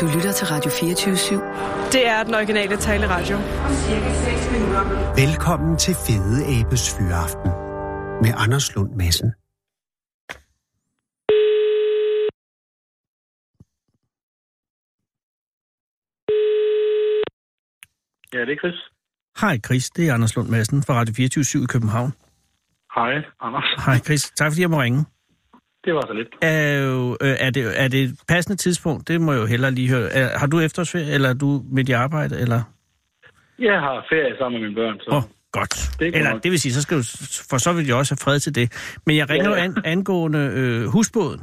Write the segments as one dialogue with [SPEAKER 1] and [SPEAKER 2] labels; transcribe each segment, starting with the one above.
[SPEAKER 1] Du lytter til Radio 24
[SPEAKER 2] Det er den originale taleradio.
[SPEAKER 3] Velkommen til Fede Abes Fyraften med Anders Lund Madsen.
[SPEAKER 4] Ja, det er Chris.
[SPEAKER 5] Hej Chris, det er Anders Lund Madsen fra Radio 24 i København.
[SPEAKER 4] Hej, Anders.
[SPEAKER 5] Hej Chris, tak fordi jeg må ringe.
[SPEAKER 4] Det var så lidt.
[SPEAKER 5] Er, jo, øh, er, det, er det et passende tidspunkt? Det må jeg jo hellere lige høre. Er, har du efterårsferie, eller er du midt i arbejde? Eller?
[SPEAKER 4] Jeg har ferie sammen med mine børn, så
[SPEAKER 5] Åh, oh,
[SPEAKER 4] oh.
[SPEAKER 5] godt.
[SPEAKER 4] Det er
[SPEAKER 5] Det
[SPEAKER 4] godt.
[SPEAKER 5] eller det vil sige, så skal du s- for så vil jeg også have fred til det. Men jeg ringer
[SPEAKER 4] Ja,
[SPEAKER 5] ja,
[SPEAKER 4] ja.
[SPEAKER 5] ja. jo an, angående øh, husbåden,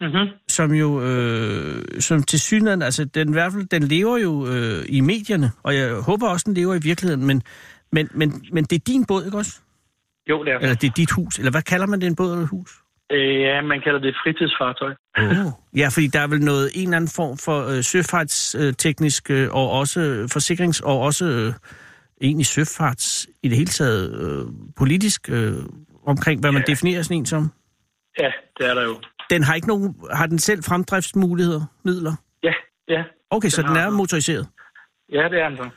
[SPEAKER 4] mm-hmm.
[SPEAKER 5] som jo øh, som til synligheden, altså den, i hvert fald, den lever jo øh, i medierne, og jeg håber også, den lever i virkeligheden, men, men, men, men det er din båd, ikke også?
[SPEAKER 4] jo, det er.
[SPEAKER 5] Eller det er dit hus, eller hvad kalder man det, en båd eller et hus?
[SPEAKER 4] Øh, ja, man kalder det fritidsfartøj.
[SPEAKER 5] Oh. Ja, fordi der er vel noget, en eller anden form for øh, søfartsteknisk øh, og også øh, forsikrings- og også øh, egentlig søfarts i det hele taget øh, politisk øh, omkring, hvad man
[SPEAKER 4] Ja.
[SPEAKER 5] definerer sådan en som.
[SPEAKER 4] Ja, det er der jo.
[SPEAKER 5] Den har ikke nogen, har den selv fremdriftsmuligheder, midler?
[SPEAKER 4] Ja, ja.
[SPEAKER 5] Okay, den så den
[SPEAKER 4] har
[SPEAKER 5] er
[SPEAKER 4] den.
[SPEAKER 5] motoriseret.
[SPEAKER 4] Ja, det er den så.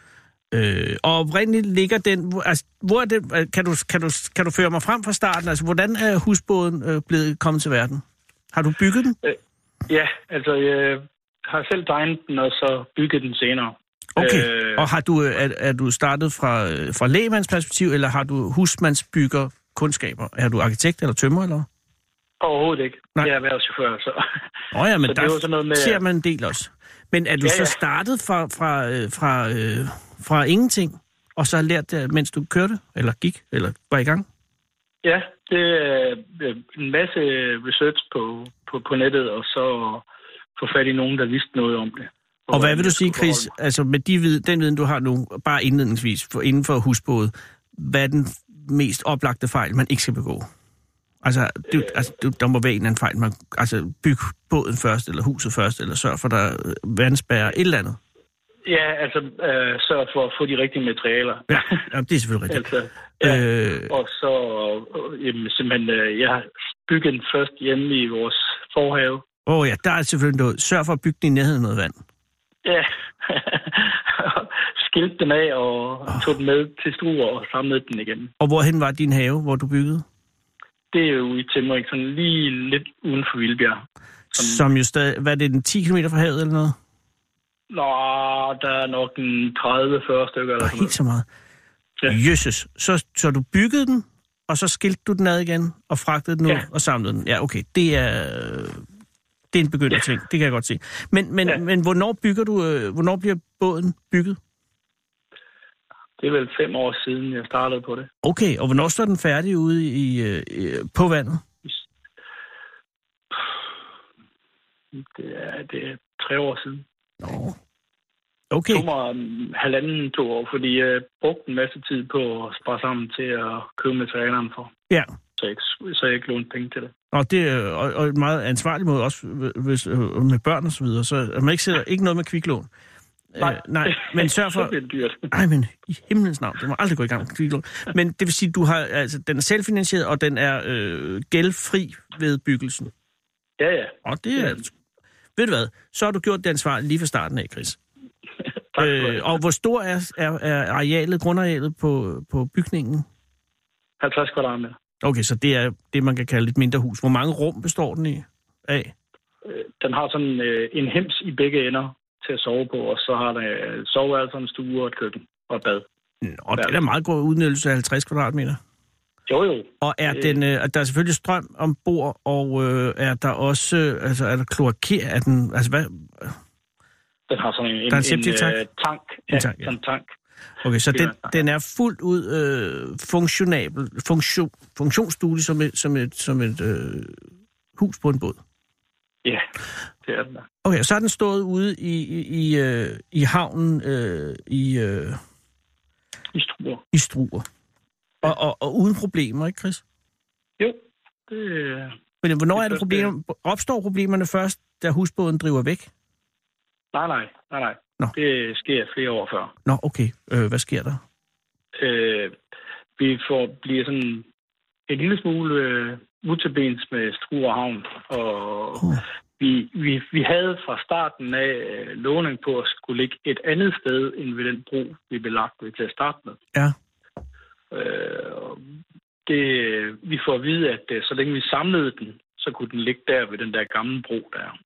[SPEAKER 5] Øh, og oprindeligt ligger den, hvor- altså, hvor er det, kan, du, kan, du, kan du føre mig frem fra starten? Altså, hvordan er husbåden øh, blevet kommet til verden? Har du bygget den?
[SPEAKER 4] Ja, altså, jeg har selv tegnet den, og så bygget den senere.
[SPEAKER 5] Okay,
[SPEAKER 4] Øh.
[SPEAKER 5] øh... og har du, øh, er, er du startet fra, øh, fra lægmandsperspektiv, eller har du husmandsbygger kundskaber? Er du arkitekt eller tømmer, eller?
[SPEAKER 4] Overhovedet ikke.
[SPEAKER 5] Nej.
[SPEAKER 4] Jeg er erhvervschauffør, så...
[SPEAKER 5] Nå ja, men
[SPEAKER 4] Så det
[SPEAKER 5] der
[SPEAKER 4] er jo sådan noget med-
[SPEAKER 5] ser man en del også. Men er du
[SPEAKER 4] Ja,
[SPEAKER 5] ja, så
[SPEAKER 4] ja.
[SPEAKER 5] startet fra, fra, øh, fra, øh, fra ingenting, og så har lært det, mens du kørte, eller gik, eller var i gang?
[SPEAKER 4] Ja, det er øh, en masse research på, på, på nettet, og så få fat i nogen, der vidste noget om det.
[SPEAKER 5] Og hvad vil du
[SPEAKER 4] jeg
[SPEAKER 5] sige,
[SPEAKER 4] skulle
[SPEAKER 5] Chris, altså med de vid- den viden, du har nu, bare indledningsvis, for, inden for husbåde, hvad er den mest oplagte fejl, man ikke skal begå? Altså, det, altså det, der må være en eller anden fejl. Man, altså, byg båden først, eller huset først, eller sørg for, der er øh, vandspærrer, et eller andet.
[SPEAKER 4] Ja, altså øh, sørg for at få de rigtige materialer.
[SPEAKER 5] Ja, ja det er selvfølgelig rigtigt.
[SPEAKER 4] altså, ja.
[SPEAKER 5] Ja. Øh,
[SPEAKER 4] Og så, øh, jamen, simpelthen, øh, jeg har bygget den først hjemme i vores forhave.
[SPEAKER 5] åh ja, der er selvfølgelig noget. Sørg for at bygge den i nærheden af noget vand.
[SPEAKER 4] Ja. Skilte den af og tog den med til Struer og samlede den igen.
[SPEAKER 5] Og hvorhen var din have, hvor du byggede?
[SPEAKER 4] Det er jo i Temmering, sådan lige lidt uden for Vildbjerg.
[SPEAKER 5] Som jo stadig, hvad er det, den 10 km fra havet eller noget?
[SPEAKER 4] Nå, der er nok en 30-40 stykker eller sådan
[SPEAKER 5] Og helt
[SPEAKER 4] noget.
[SPEAKER 5] så meget.
[SPEAKER 4] Ja.
[SPEAKER 5] Ja. Jøsses. Så, så du byggede den, og så skilte du den ad igen, og fragtede den ud,
[SPEAKER 4] Ja.
[SPEAKER 5] ja. og samlede den. Ja, okay. Det er, det er en begynderting. Ja. Det kan jeg godt se. Men, men,
[SPEAKER 4] Ja.
[SPEAKER 5] ja. men hvornår bygger du, øh, hvornår bliver båden bygget?
[SPEAKER 4] Det er vel fem år siden, jeg startede på det.
[SPEAKER 5] Okay, og hvornår står den færdig ude i, øh, i, på vandet?
[SPEAKER 4] Det er, det er tre år siden.
[SPEAKER 5] Nå. Okay,
[SPEAKER 4] Det tog mig um, halvanden, to år, fordi jeg brugte en masse tid på at spare sammen til at købe materialerne for.
[SPEAKER 5] ja.
[SPEAKER 4] så jeg, ikke- så jeg ikke lånte penge til det.
[SPEAKER 5] Og det er og, og en meget ansvarlig måde, også hvis, øh, med børn og så videre, så at man ikke sætter ikke noget med kviklån.
[SPEAKER 4] Nej.
[SPEAKER 5] Øh, nej, men sørg for...
[SPEAKER 4] Så bliver det dyrt.
[SPEAKER 5] Nej, men i himlens navn, det må aldrig gå i gang med kviklån. Men det vil sige, du har, altså, den er selvfinansieret, og den er øh, gældfri ved byggelsen.
[SPEAKER 4] Ja, ja.
[SPEAKER 5] Og det er... Ved du hvad, så har du gjort det ansvarligt lige fra starten af, Chris.
[SPEAKER 4] Tak for
[SPEAKER 5] Øh,
[SPEAKER 4] det.
[SPEAKER 5] og hvor stor er, er, er arealet, grundarealet på, på bygningen?
[SPEAKER 4] 50 kvadratmeter.
[SPEAKER 5] Okay, så det er det, man kan kalde et mindre hus. Hvor mange rum består den i? af?
[SPEAKER 4] Øh, Den har sådan øh, en hems i begge ender til at sove på, og så har den øh, soveværelse, en stue og et køkken og et bad.
[SPEAKER 5] Nå, det er da meget god udnyttelse af 50 kvadratmeter.
[SPEAKER 4] Jo, jo.
[SPEAKER 5] Og er
[SPEAKER 4] Øh.
[SPEAKER 5] den, øh, og der er selvfølgelig strøm ombord, og øh, er der også, øh, altså er der kloaker, er den, altså hvad,
[SPEAKER 4] Den har sådan en,
[SPEAKER 5] Der er en septiktank.
[SPEAKER 4] øh, tank. Ja,
[SPEAKER 5] En
[SPEAKER 4] tank,
[SPEAKER 5] tank,
[SPEAKER 4] ja.
[SPEAKER 5] ja.
[SPEAKER 4] sådan en tank.
[SPEAKER 5] Okay, så den,
[SPEAKER 4] Ja.
[SPEAKER 5] den er fuldt ud øh, funktionabel, funktion, funktionsduelig som et, som et, som et øh, hus på en båd.
[SPEAKER 4] Ja, det er den der.
[SPEAKER 5] Okay, og så har den stået ude i, i, i, øh, i havnen øh, i, øh,
[SPEAKER 4] I struer.
[SPEAKER 5] i Struer. Og, og, og uden problemer, ikke Chris?
[SPEAKER 4] Jo, det, øh,
[SPEAKER 5] Men hvornår
[SPEAKER 4] Det
[SPEAKER 5] er det
[SPEAKER 4] første-
[SPEAKER 5] problemer, opstår problemerne først, da husbåden driver væk?
[SPEAKER 4] nej, nej, nej, nej.
[SPEAKER 5] Nå.
[SPEAKER 4] Det sker flere år før.
[SPEAKER 5] Nå, okay, øh, hvad sker der?
[SPEAKER 4] øh, vi får, bliver sådan en lille smule øh, utabens med Struer Havn, og
[SPEAKER 5] Åh.
[SPEAKER 4] vi, vi, vi havde fra starten af øh, lovning på at skulle ligge et andet sted end ved den bro, vi blev lagt ved til at starte med.
[SPEAKER 5] Ja.
[SPEAKER 4] Øh, og det, vi får at vide, at øh, så længe vi samlede den, så kunne den ligge der ved den der gamle bro der.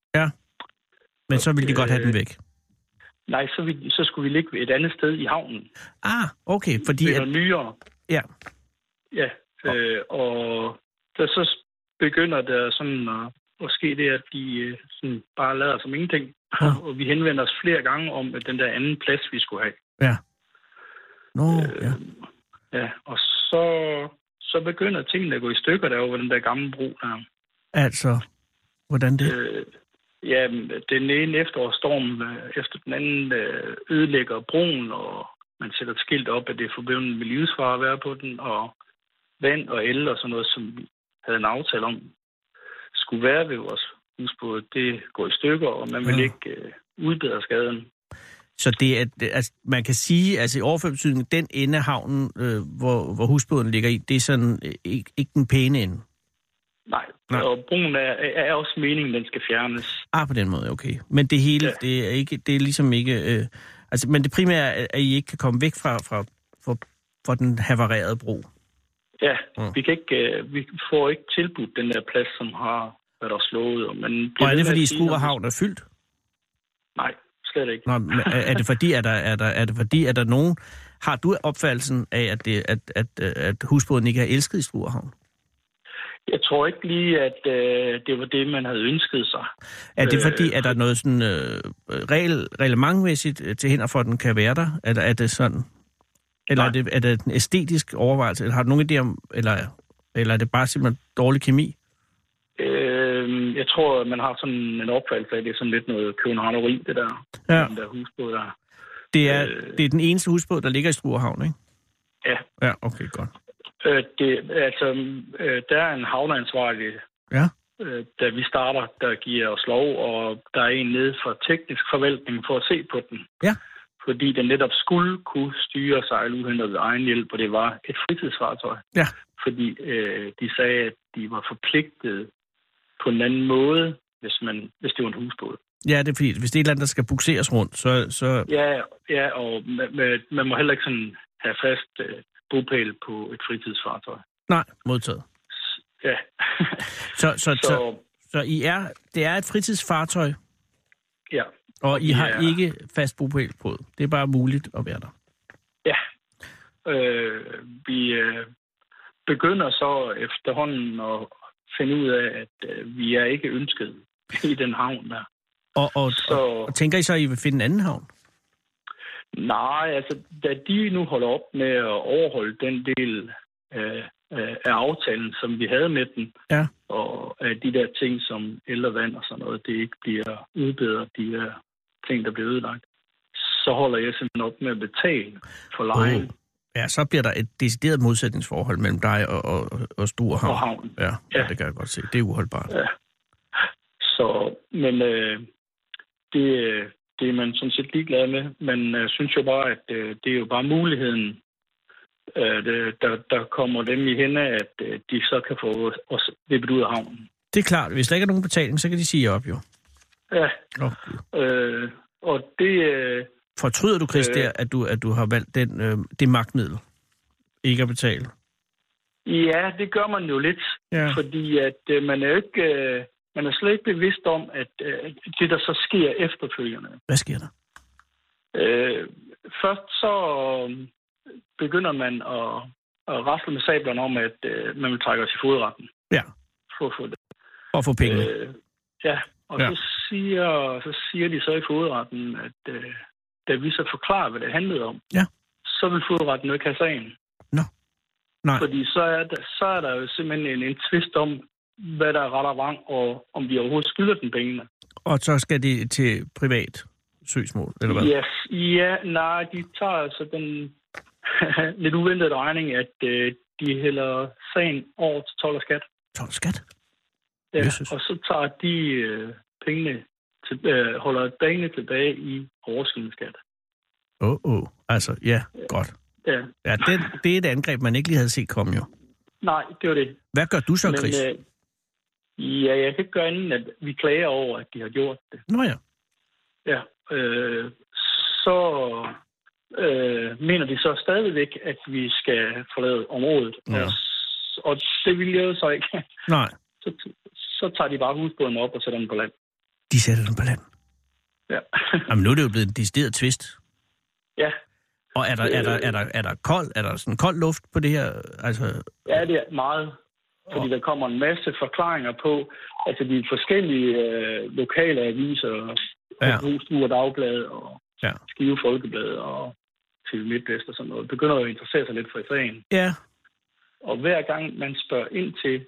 [SPEAKER 5] Men så ville de godt have den væk.
[SPEAKER 4] Nej, så, vi, så skulle vi ligge et andet sted i havnen.
[SPEAKER 5] Ah, okay, fordi...
[SPEAKER 4] Det
[SPEAKER 5] At,
[SPEAKER 4] er nyere.
[SPEAKER 5] ja,
[SPEAKER 4] Ja, øh, og der så begynder der sådan at, at ske det, at de øh, sådan bare lader som ingenting.
[SPEAKER 5] Ja.
[SPEAKER 4] Og vi henvender os flere gange om at den der anden plads, vi skulle have.
[SPEAKER 5] ja. Nå, ja.
[SPEAKER 4] Ja, og så, så begynder tingene at gå i stykker derovre ved den der gamle bro der.
[SPEAKER 5] Altså, hvordan det?
[SPEAKER 4] Øh, ja, den ene efterårsstorm øh, efter den anden øh, ødelægger broen, og man sætter et skilt op, at det er forbundet med livsfare at være på den, og vand og el og sådan noget, som vi havde en aftale om, skulle være ved vores husbåd, det går i stykker, og man vil
[SPEAKER 5] Ja.
[SPEAKER 4] ikke øh, udbedre skaden.
[SPEAKER 5] Så det er, altså, man kan sige, altså i overført betydning, den ende af havnen, øh, hvor, hvor husbåden ligger i, det er sådan øh, ikke, ikke den pæne ende.
[SPEAKER 4] Nej,
[SPEAKER 5] Nej.
[SPEAKER 4] Nej. og broen er, er også meningen, den skal fjernes.
[SPEAKER 5] Ah, på den måde, okay. Men det hele, ja.
[SPEAKER 4] Ja.
[SPEAKER 5] det, er ikke, det er ligesom ikke... Øh, altså, men det primære er, at I ikke kan komme væk fra, fra, fra, fra den havarerede bro.
[SPEAKER 4] Ja,
[SPEAKER 5] Ja.
[SPEAKER 4] vi, kan ikke, øh, vi får ikke tilbudt den der plads, som har været os lovet. Og, man bliver
[SPEAKER 5] Og er
[SPEAKER 4] ved
[SPEAKER 5] det,
[SPEAKER 4] med
[SPEAKER 5] fordi
[SPEAKER 4] at sige,
[SPEAKER 5] Struer
[SPEAKER 4] at-
[SPEAKER 5] Havn er fyldt?
[SPEAKER 4] Nej, slet ikke.
[SPEAKER 5] Nå, men er, er det fordi, er der, er der, er det fordi, er der nogen... Har du opfattelsen af, at, det, at, at, at, at husbåden ikke er elsket i Struer Havn?
[SPEAKER 4] Jeg tror ikke lige, at øh, det var det, man havde ønsket sig.
[SPEAKER 5] Er det
[SPEAKER 4] Øh,
[SPEAKER 5] fordi, at der er noget sådan øh, regel, reglementmæssigt øh, til hinder for, at den kan være der? Er, der- er det sådan? Eller er
[SPEAKER 4] Nej.
[SPEAKER 5] det, er det en æstetisk overvejelse? Eller har du nogen idé om, eller, eller er det bare simpelthen dårlig kemi?
[SPEAKER 4] Øh, jeg tror, at man har sådan en opfattelse af, at det er sådan lidt noget københavneri, det der,
[SPEAKER 5] Ja,
[SPEAKER 4] den der husbåd der.
[SPEAKER 5] det er,
[SPEAKER 4] øh.
[SPEAKER 5] det er den eneste husbåd, der ligger i Struerhavn, ikke?
[SPEAKER 4] Ja.
[SPEAKER 5] Ja, okay, godt.
[SPEAKER 4] Øh, det, altså, øh, der er en havneansvarlig,
[SPEAKER 5] Ja.
[SPEAKER 4] øh, da vi starter, der giver os lov, og der er en nede fra teknisk forvaltning for at se på den.
[SPEAKER 5] Ja.
[SPEAKER 4] Fordi den netop skulle kunne styre og sejle uhindret ved egen hjælp, og det var et fritidsfartøj.
[SPEAKER 5] Ja.
[SPEAKER 4] Fordi øh, de sagde, at de var forpligtet på en anden måde, hvis, man, hvis det var en husbåd.
[SPEAKER 5] Ja, det er fordi, hvis det er et eller andet, der skal bukseres rundt, så... så
[SPEAKER 4] Ja, ja og man, man- man må heller ikke sådan have fast øh, bopæl på et fritidsfartøj.
[SPEAKER 5] nej, modtaget.
[SPEAKER 4] S- Ja,
[SPEAKER 5] Så, så, så, så,
[SPEAKER 4] så
[SPEAKER 5] så I er, det er et fritidsfartøj,
[SPEAKER 4] ja,
[SPEAKER 5] og I har
[SPEAKER 4] Ja.
[SPEAKER 5] ikke fast bopæl på. det. Det er bare muligt at være der.
[SPEAKER 4] Ja. Øh, vi øh, begynder så efterhånden at finde ud af, at øh, vi er ikke ønsket i den havn der.
[SPEAKER 5] Og, og,
[SPEAKER 4] Så
[SPEAKER 5] og tænker I så, at I vil finde en anden havn?
[SPEAKER 4] nej, altså da de nu holder op med at overholde den del øh, øh, af aftalen, som vi havde med den,
[SPEAKER 5] Ja.
[SPEAKER 4] og at de der ting som el og vand og sådan noget, det ikke bliver udbedret, de der ting, der bliver ødelagt, så holder jeg simpelthen op med at betale for lejen
[SPEAKER 5] Åh, Ja, så bliver der et decideret modsætningsforhold mellem dig og, og, og- og Storhavn.
[SPEAKER 4] for havnen.
[SPEAKER 5] Ja, ja,
[SPEAKER 4] Ja.
[SPEAKER 5] det kan jeg godt se. Det er uholdbart.
[SPEAKER 4] Ja. Så, men øh, det, øh, det er man sådan set ligeglad med. Man øh, synes jo bare, at øh, det er jo bare muligheden, øh, det, der, der kommer dem i hende, at øh, de så kan få os- os vippet ud af havnen.
[SPEAKER 5] Det er klart, hvis der ikke er nogen betaling, så kan de sige op, jo.
[SPEAKER 4] Ja,
[SPEAKER 5] Oh,
[SPEAKER 4] øh, og det... Øh,
[SPEAKER 5] fortryder du, Chris, øh.
[SPEAKER 4] Øh.
[SPEAKER 5] der, at du, at du har valgt den, øh, det magtmiddel? Ikke at betale?
[SPEAKER 4] ja, det gør man jo lidt,
[SPEAKER 5] Ja.
[SPEAKER 4] fordi at øh, man er jo ikke... Øh, man er slet ikke bevidst om, at øh, det, der så sker efterfølgende,
[SPEAKER 5] Hvad sker der?
[SPEAKER 4] Øh, først så øh, begynder man at, at rasle med sablerne om, at øh, man vil trække os i fodretten.
[SPEAKER 5] Ja.
[SPEAKER 4] For at få det.
[SPEAKER 5] Og få penge. Øh.
[SPEAKER 4] Øh, ja, og
[SPEAKER 5] Ja.
[SPEAKER 4] ja. Så, siger, så siger de så i fodretten, at øh, da vi så forklarer, hvad det handlede om,
[SPEAKER 5] Ja.
[SPEAKER 4] så vil fodretten jo ikke have sagen.
[SPEAKER 5] Nej,
[SPEAKER 4] Fordi så er, der, så er der jo simpelthen en, en tvist om, hvad der er ret og vrang, og om vi overhovedet skylder den pengene.
[SPEAKER 5] og så skal det til privat søgsmål, eller hvad?
[SPEAKER 4] Yes. Ja, nej, de tager altså den lidt uventede regning, at øh, de hælder sagen over til told og skat.
[SPEAKER 5] Tom skat?
[SPEAKER 4] Ja,
[SPEAKER 5] Jesus.
[SPEAKER 4] og så tager de øh, pengene til, øh, holder pengene tilbage i overskydende skat.
[SPEAKER 5] Åh, oh, oh. altså, ja, godt.
[SPEAKER 4] Ja.
[SPEAKER 5] Ja, det, det er et angreb, man ikke lige havde set komme, jo.
[SPEAKER 4] Nej, det var det.
[SPEAKER 5] Hvad gør du så, Chris?
[SPEAKER 4] øh, Ja, jeg kan ikke gøre andet, at vi klager over, at de har gjort det.
[SPEAKER 5] Nå ja.
[SPEAKER 4] Ja, øh, så øh, mener de så stadigvæk, at vi skal forlade området.
[SPEAKER 5] Ja.
[SPEAKER 4] Og, s- og det vil jeg jo så ikke.
[SPEAKER 5] Nej,
[SPEAKER 4] Så, så tager de bare husbåden op og sætter den på land.
[SPEAKER 5] de sætter dem på land.
[SPEAKER 4] Ja,
[SPEAKER 5] Jamen, nu er det jo blevet en decideret tvist.
[SPEAKER 4] ja,
[SPEAKER 5] Og er der, er der, er der, er der, kold, er der sådan kold luft på det her? Altså,
[SPEAKER 4] ja det er meget. Fordi der kommer en masse forklaringer på, altså de forskellige øh, lokale aviser,
[SPEAKER 5] Ja.
[SPEAKER 4] ja. Husur Dagblad og
[SPEAKER 5] Ja.
[SPEAKER 4] ja. Skive Folkeblad og TV MidtVest og sådan noget, begynder jo at interessere sig lidt for sagen.
[SPEAKER 5] ja,
[SPEAKER 4] Og hver gang man spørger ind til,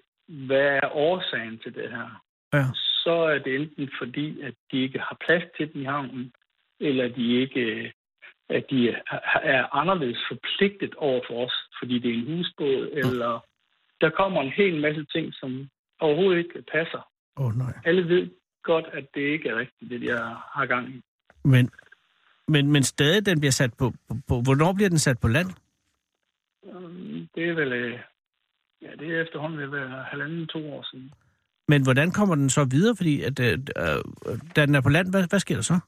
[SPEAKER 4] hvad er årsagen til det her,
[SPEAKER 5] ja,
[SPEAKER 4] så er det enten fordi, at de ikke har plads til den i havnen, eller de ikke øh, at de er- er anderledes forpligtet over for os, fordi det er en husbåd, eller der kommer en hel masse ting, som overhovedet ikke passer.
[SPEAKER 5] åh oh, nej.
[SPEAKER 4] Alle ved godt, at det ikke er rigtigt, det jeg har gang i.
[SPEAKER 5] Men, men, men stadig, den bliver sat på, på, på, hvornår bliver den sat på land?
[SPEAKER 4] Øhm, Det er vel, øh, ja, det er efterhånden ved at være halvanden, to år siden.
[SPEAKER 5] Men hvordan kommer den så videre? Fordi at, øh, øh, da den er på land, hvad, hvad sker der så?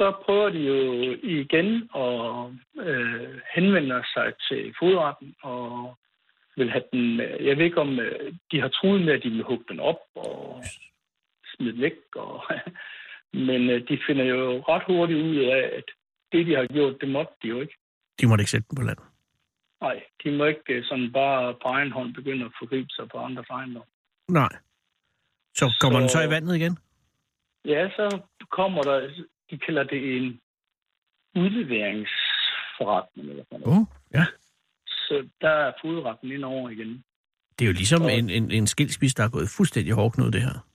[SPEAKER 4] så prøver de jo igen at øh, henvende sig til fodretten og vil have den... øh, Jeg ved ikke, om øh, de har truet med, at de vil hugge den op og smide den væk. Og, men øh, de finder jo ret hurtigt ud af, at det, de har gjort, det måtte de jo ikke.
[SPEAKER 5] De måtte ikke sætte den på land.
[SPEAKER 4] Nej, de må ikke øh, sådan bare på egen hånd begynde at forgribe sig på andres ejendom.
[SPEAKER 5] Nej. Så kommer
[SPEAKER 4] Så-
[SPEAKER 5] så... den så i vandet igen?
[SPEAKER 4] Ja, så kommer der... De kalder det en udleveringsforretning. Eller sådan noget.
[SPEAKER 5] Uh, ja.
[SPEAKER 4] Så der er fodretten ind over igen.
[SPEAKER 5] Det er jo ligesom
[SPEAKER 4] Og-
[SPEAKER 5] en, en, en skilsmisse, der er gået fuldstændig hårdknud, det her.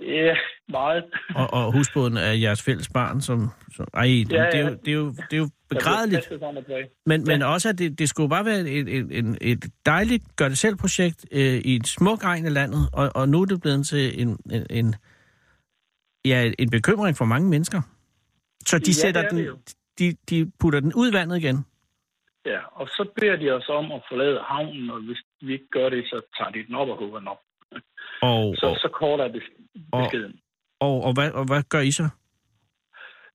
[SPEAKER 4] Ja, meget.
[SPEAKER 5] Og, og husbåden er jeres fælles barn, som... som ej, det,
[SPEAKER 4] Ja, ja.
[SPEAKER 5] det, er jo, det, er jo, det er jo begrædeligt.
[SPEAKER 4] Der bliver kastet frem og tilbage.
[SPEAKER 5] Men, men også, at det, det skulle jo bare være et, et, et, et dejligt gør-det-selv-projekt øh, i et smuk egn af landet, og, og nu er det blevet til en, en, en, ja, en bekymring for mange mennesker. Så de,
[SPEAKER 4] Ja, det
[SPEAKER 5] sætter
[SPEAKER 4] er det
[SPEAKER 5] den,
[SPEAKER 4] jo.
[SPEAKER 5] de, de putter den ud i vandet igen.
[SPEAKER 4] Ja, og så beder de os om at forlade havnen, og hvis vi ikke gør det, så tager de den op og hugger den op.
[SPEAKER 5] Og,
[SPEAKER 4] Så, så kort er bes-
[SPEAKER 5] Og-
[SPEAKER 4] beskeden.
[SPEAKER 5] og, og, og, hvad, og hvad gør I så?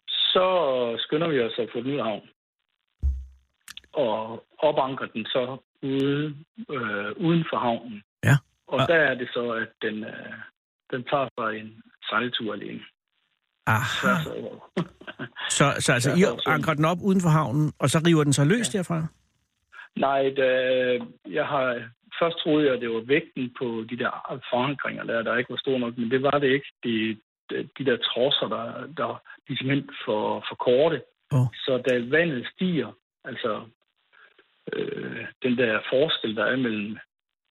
[SPEAKER 4] Så skynder vi os at få den ud af havnen. Og opanker den så ude, øh, uden for havnen.
[SPEAKER 5] Ja.
[SPEAKER 4] Og der er det så, at den, øh, den tager sig en sejltur alene.
[SPEAKER 5] Aha.
[SPEAKER 4] Tværs over.
[SPEAKER 5] Så, så altså, I
[SPEAKER 4] Ja, og så-
[SPEAKER 5] ankrer den op uden for havnen, og så river den sig løs derfra?
[SPEAKER 4] Nej, da, jeg har først troede jeg, at det var vægten på de der forankringer, der, der ikke var stor nok, men det var det ikke. De, de der trosser, der, der de er simpelthen for, for korte.
[SPEAKER 5] Åh.
[SPEAKER 4] Så da vandet stiger, altså øh, den der forskel, der er mellem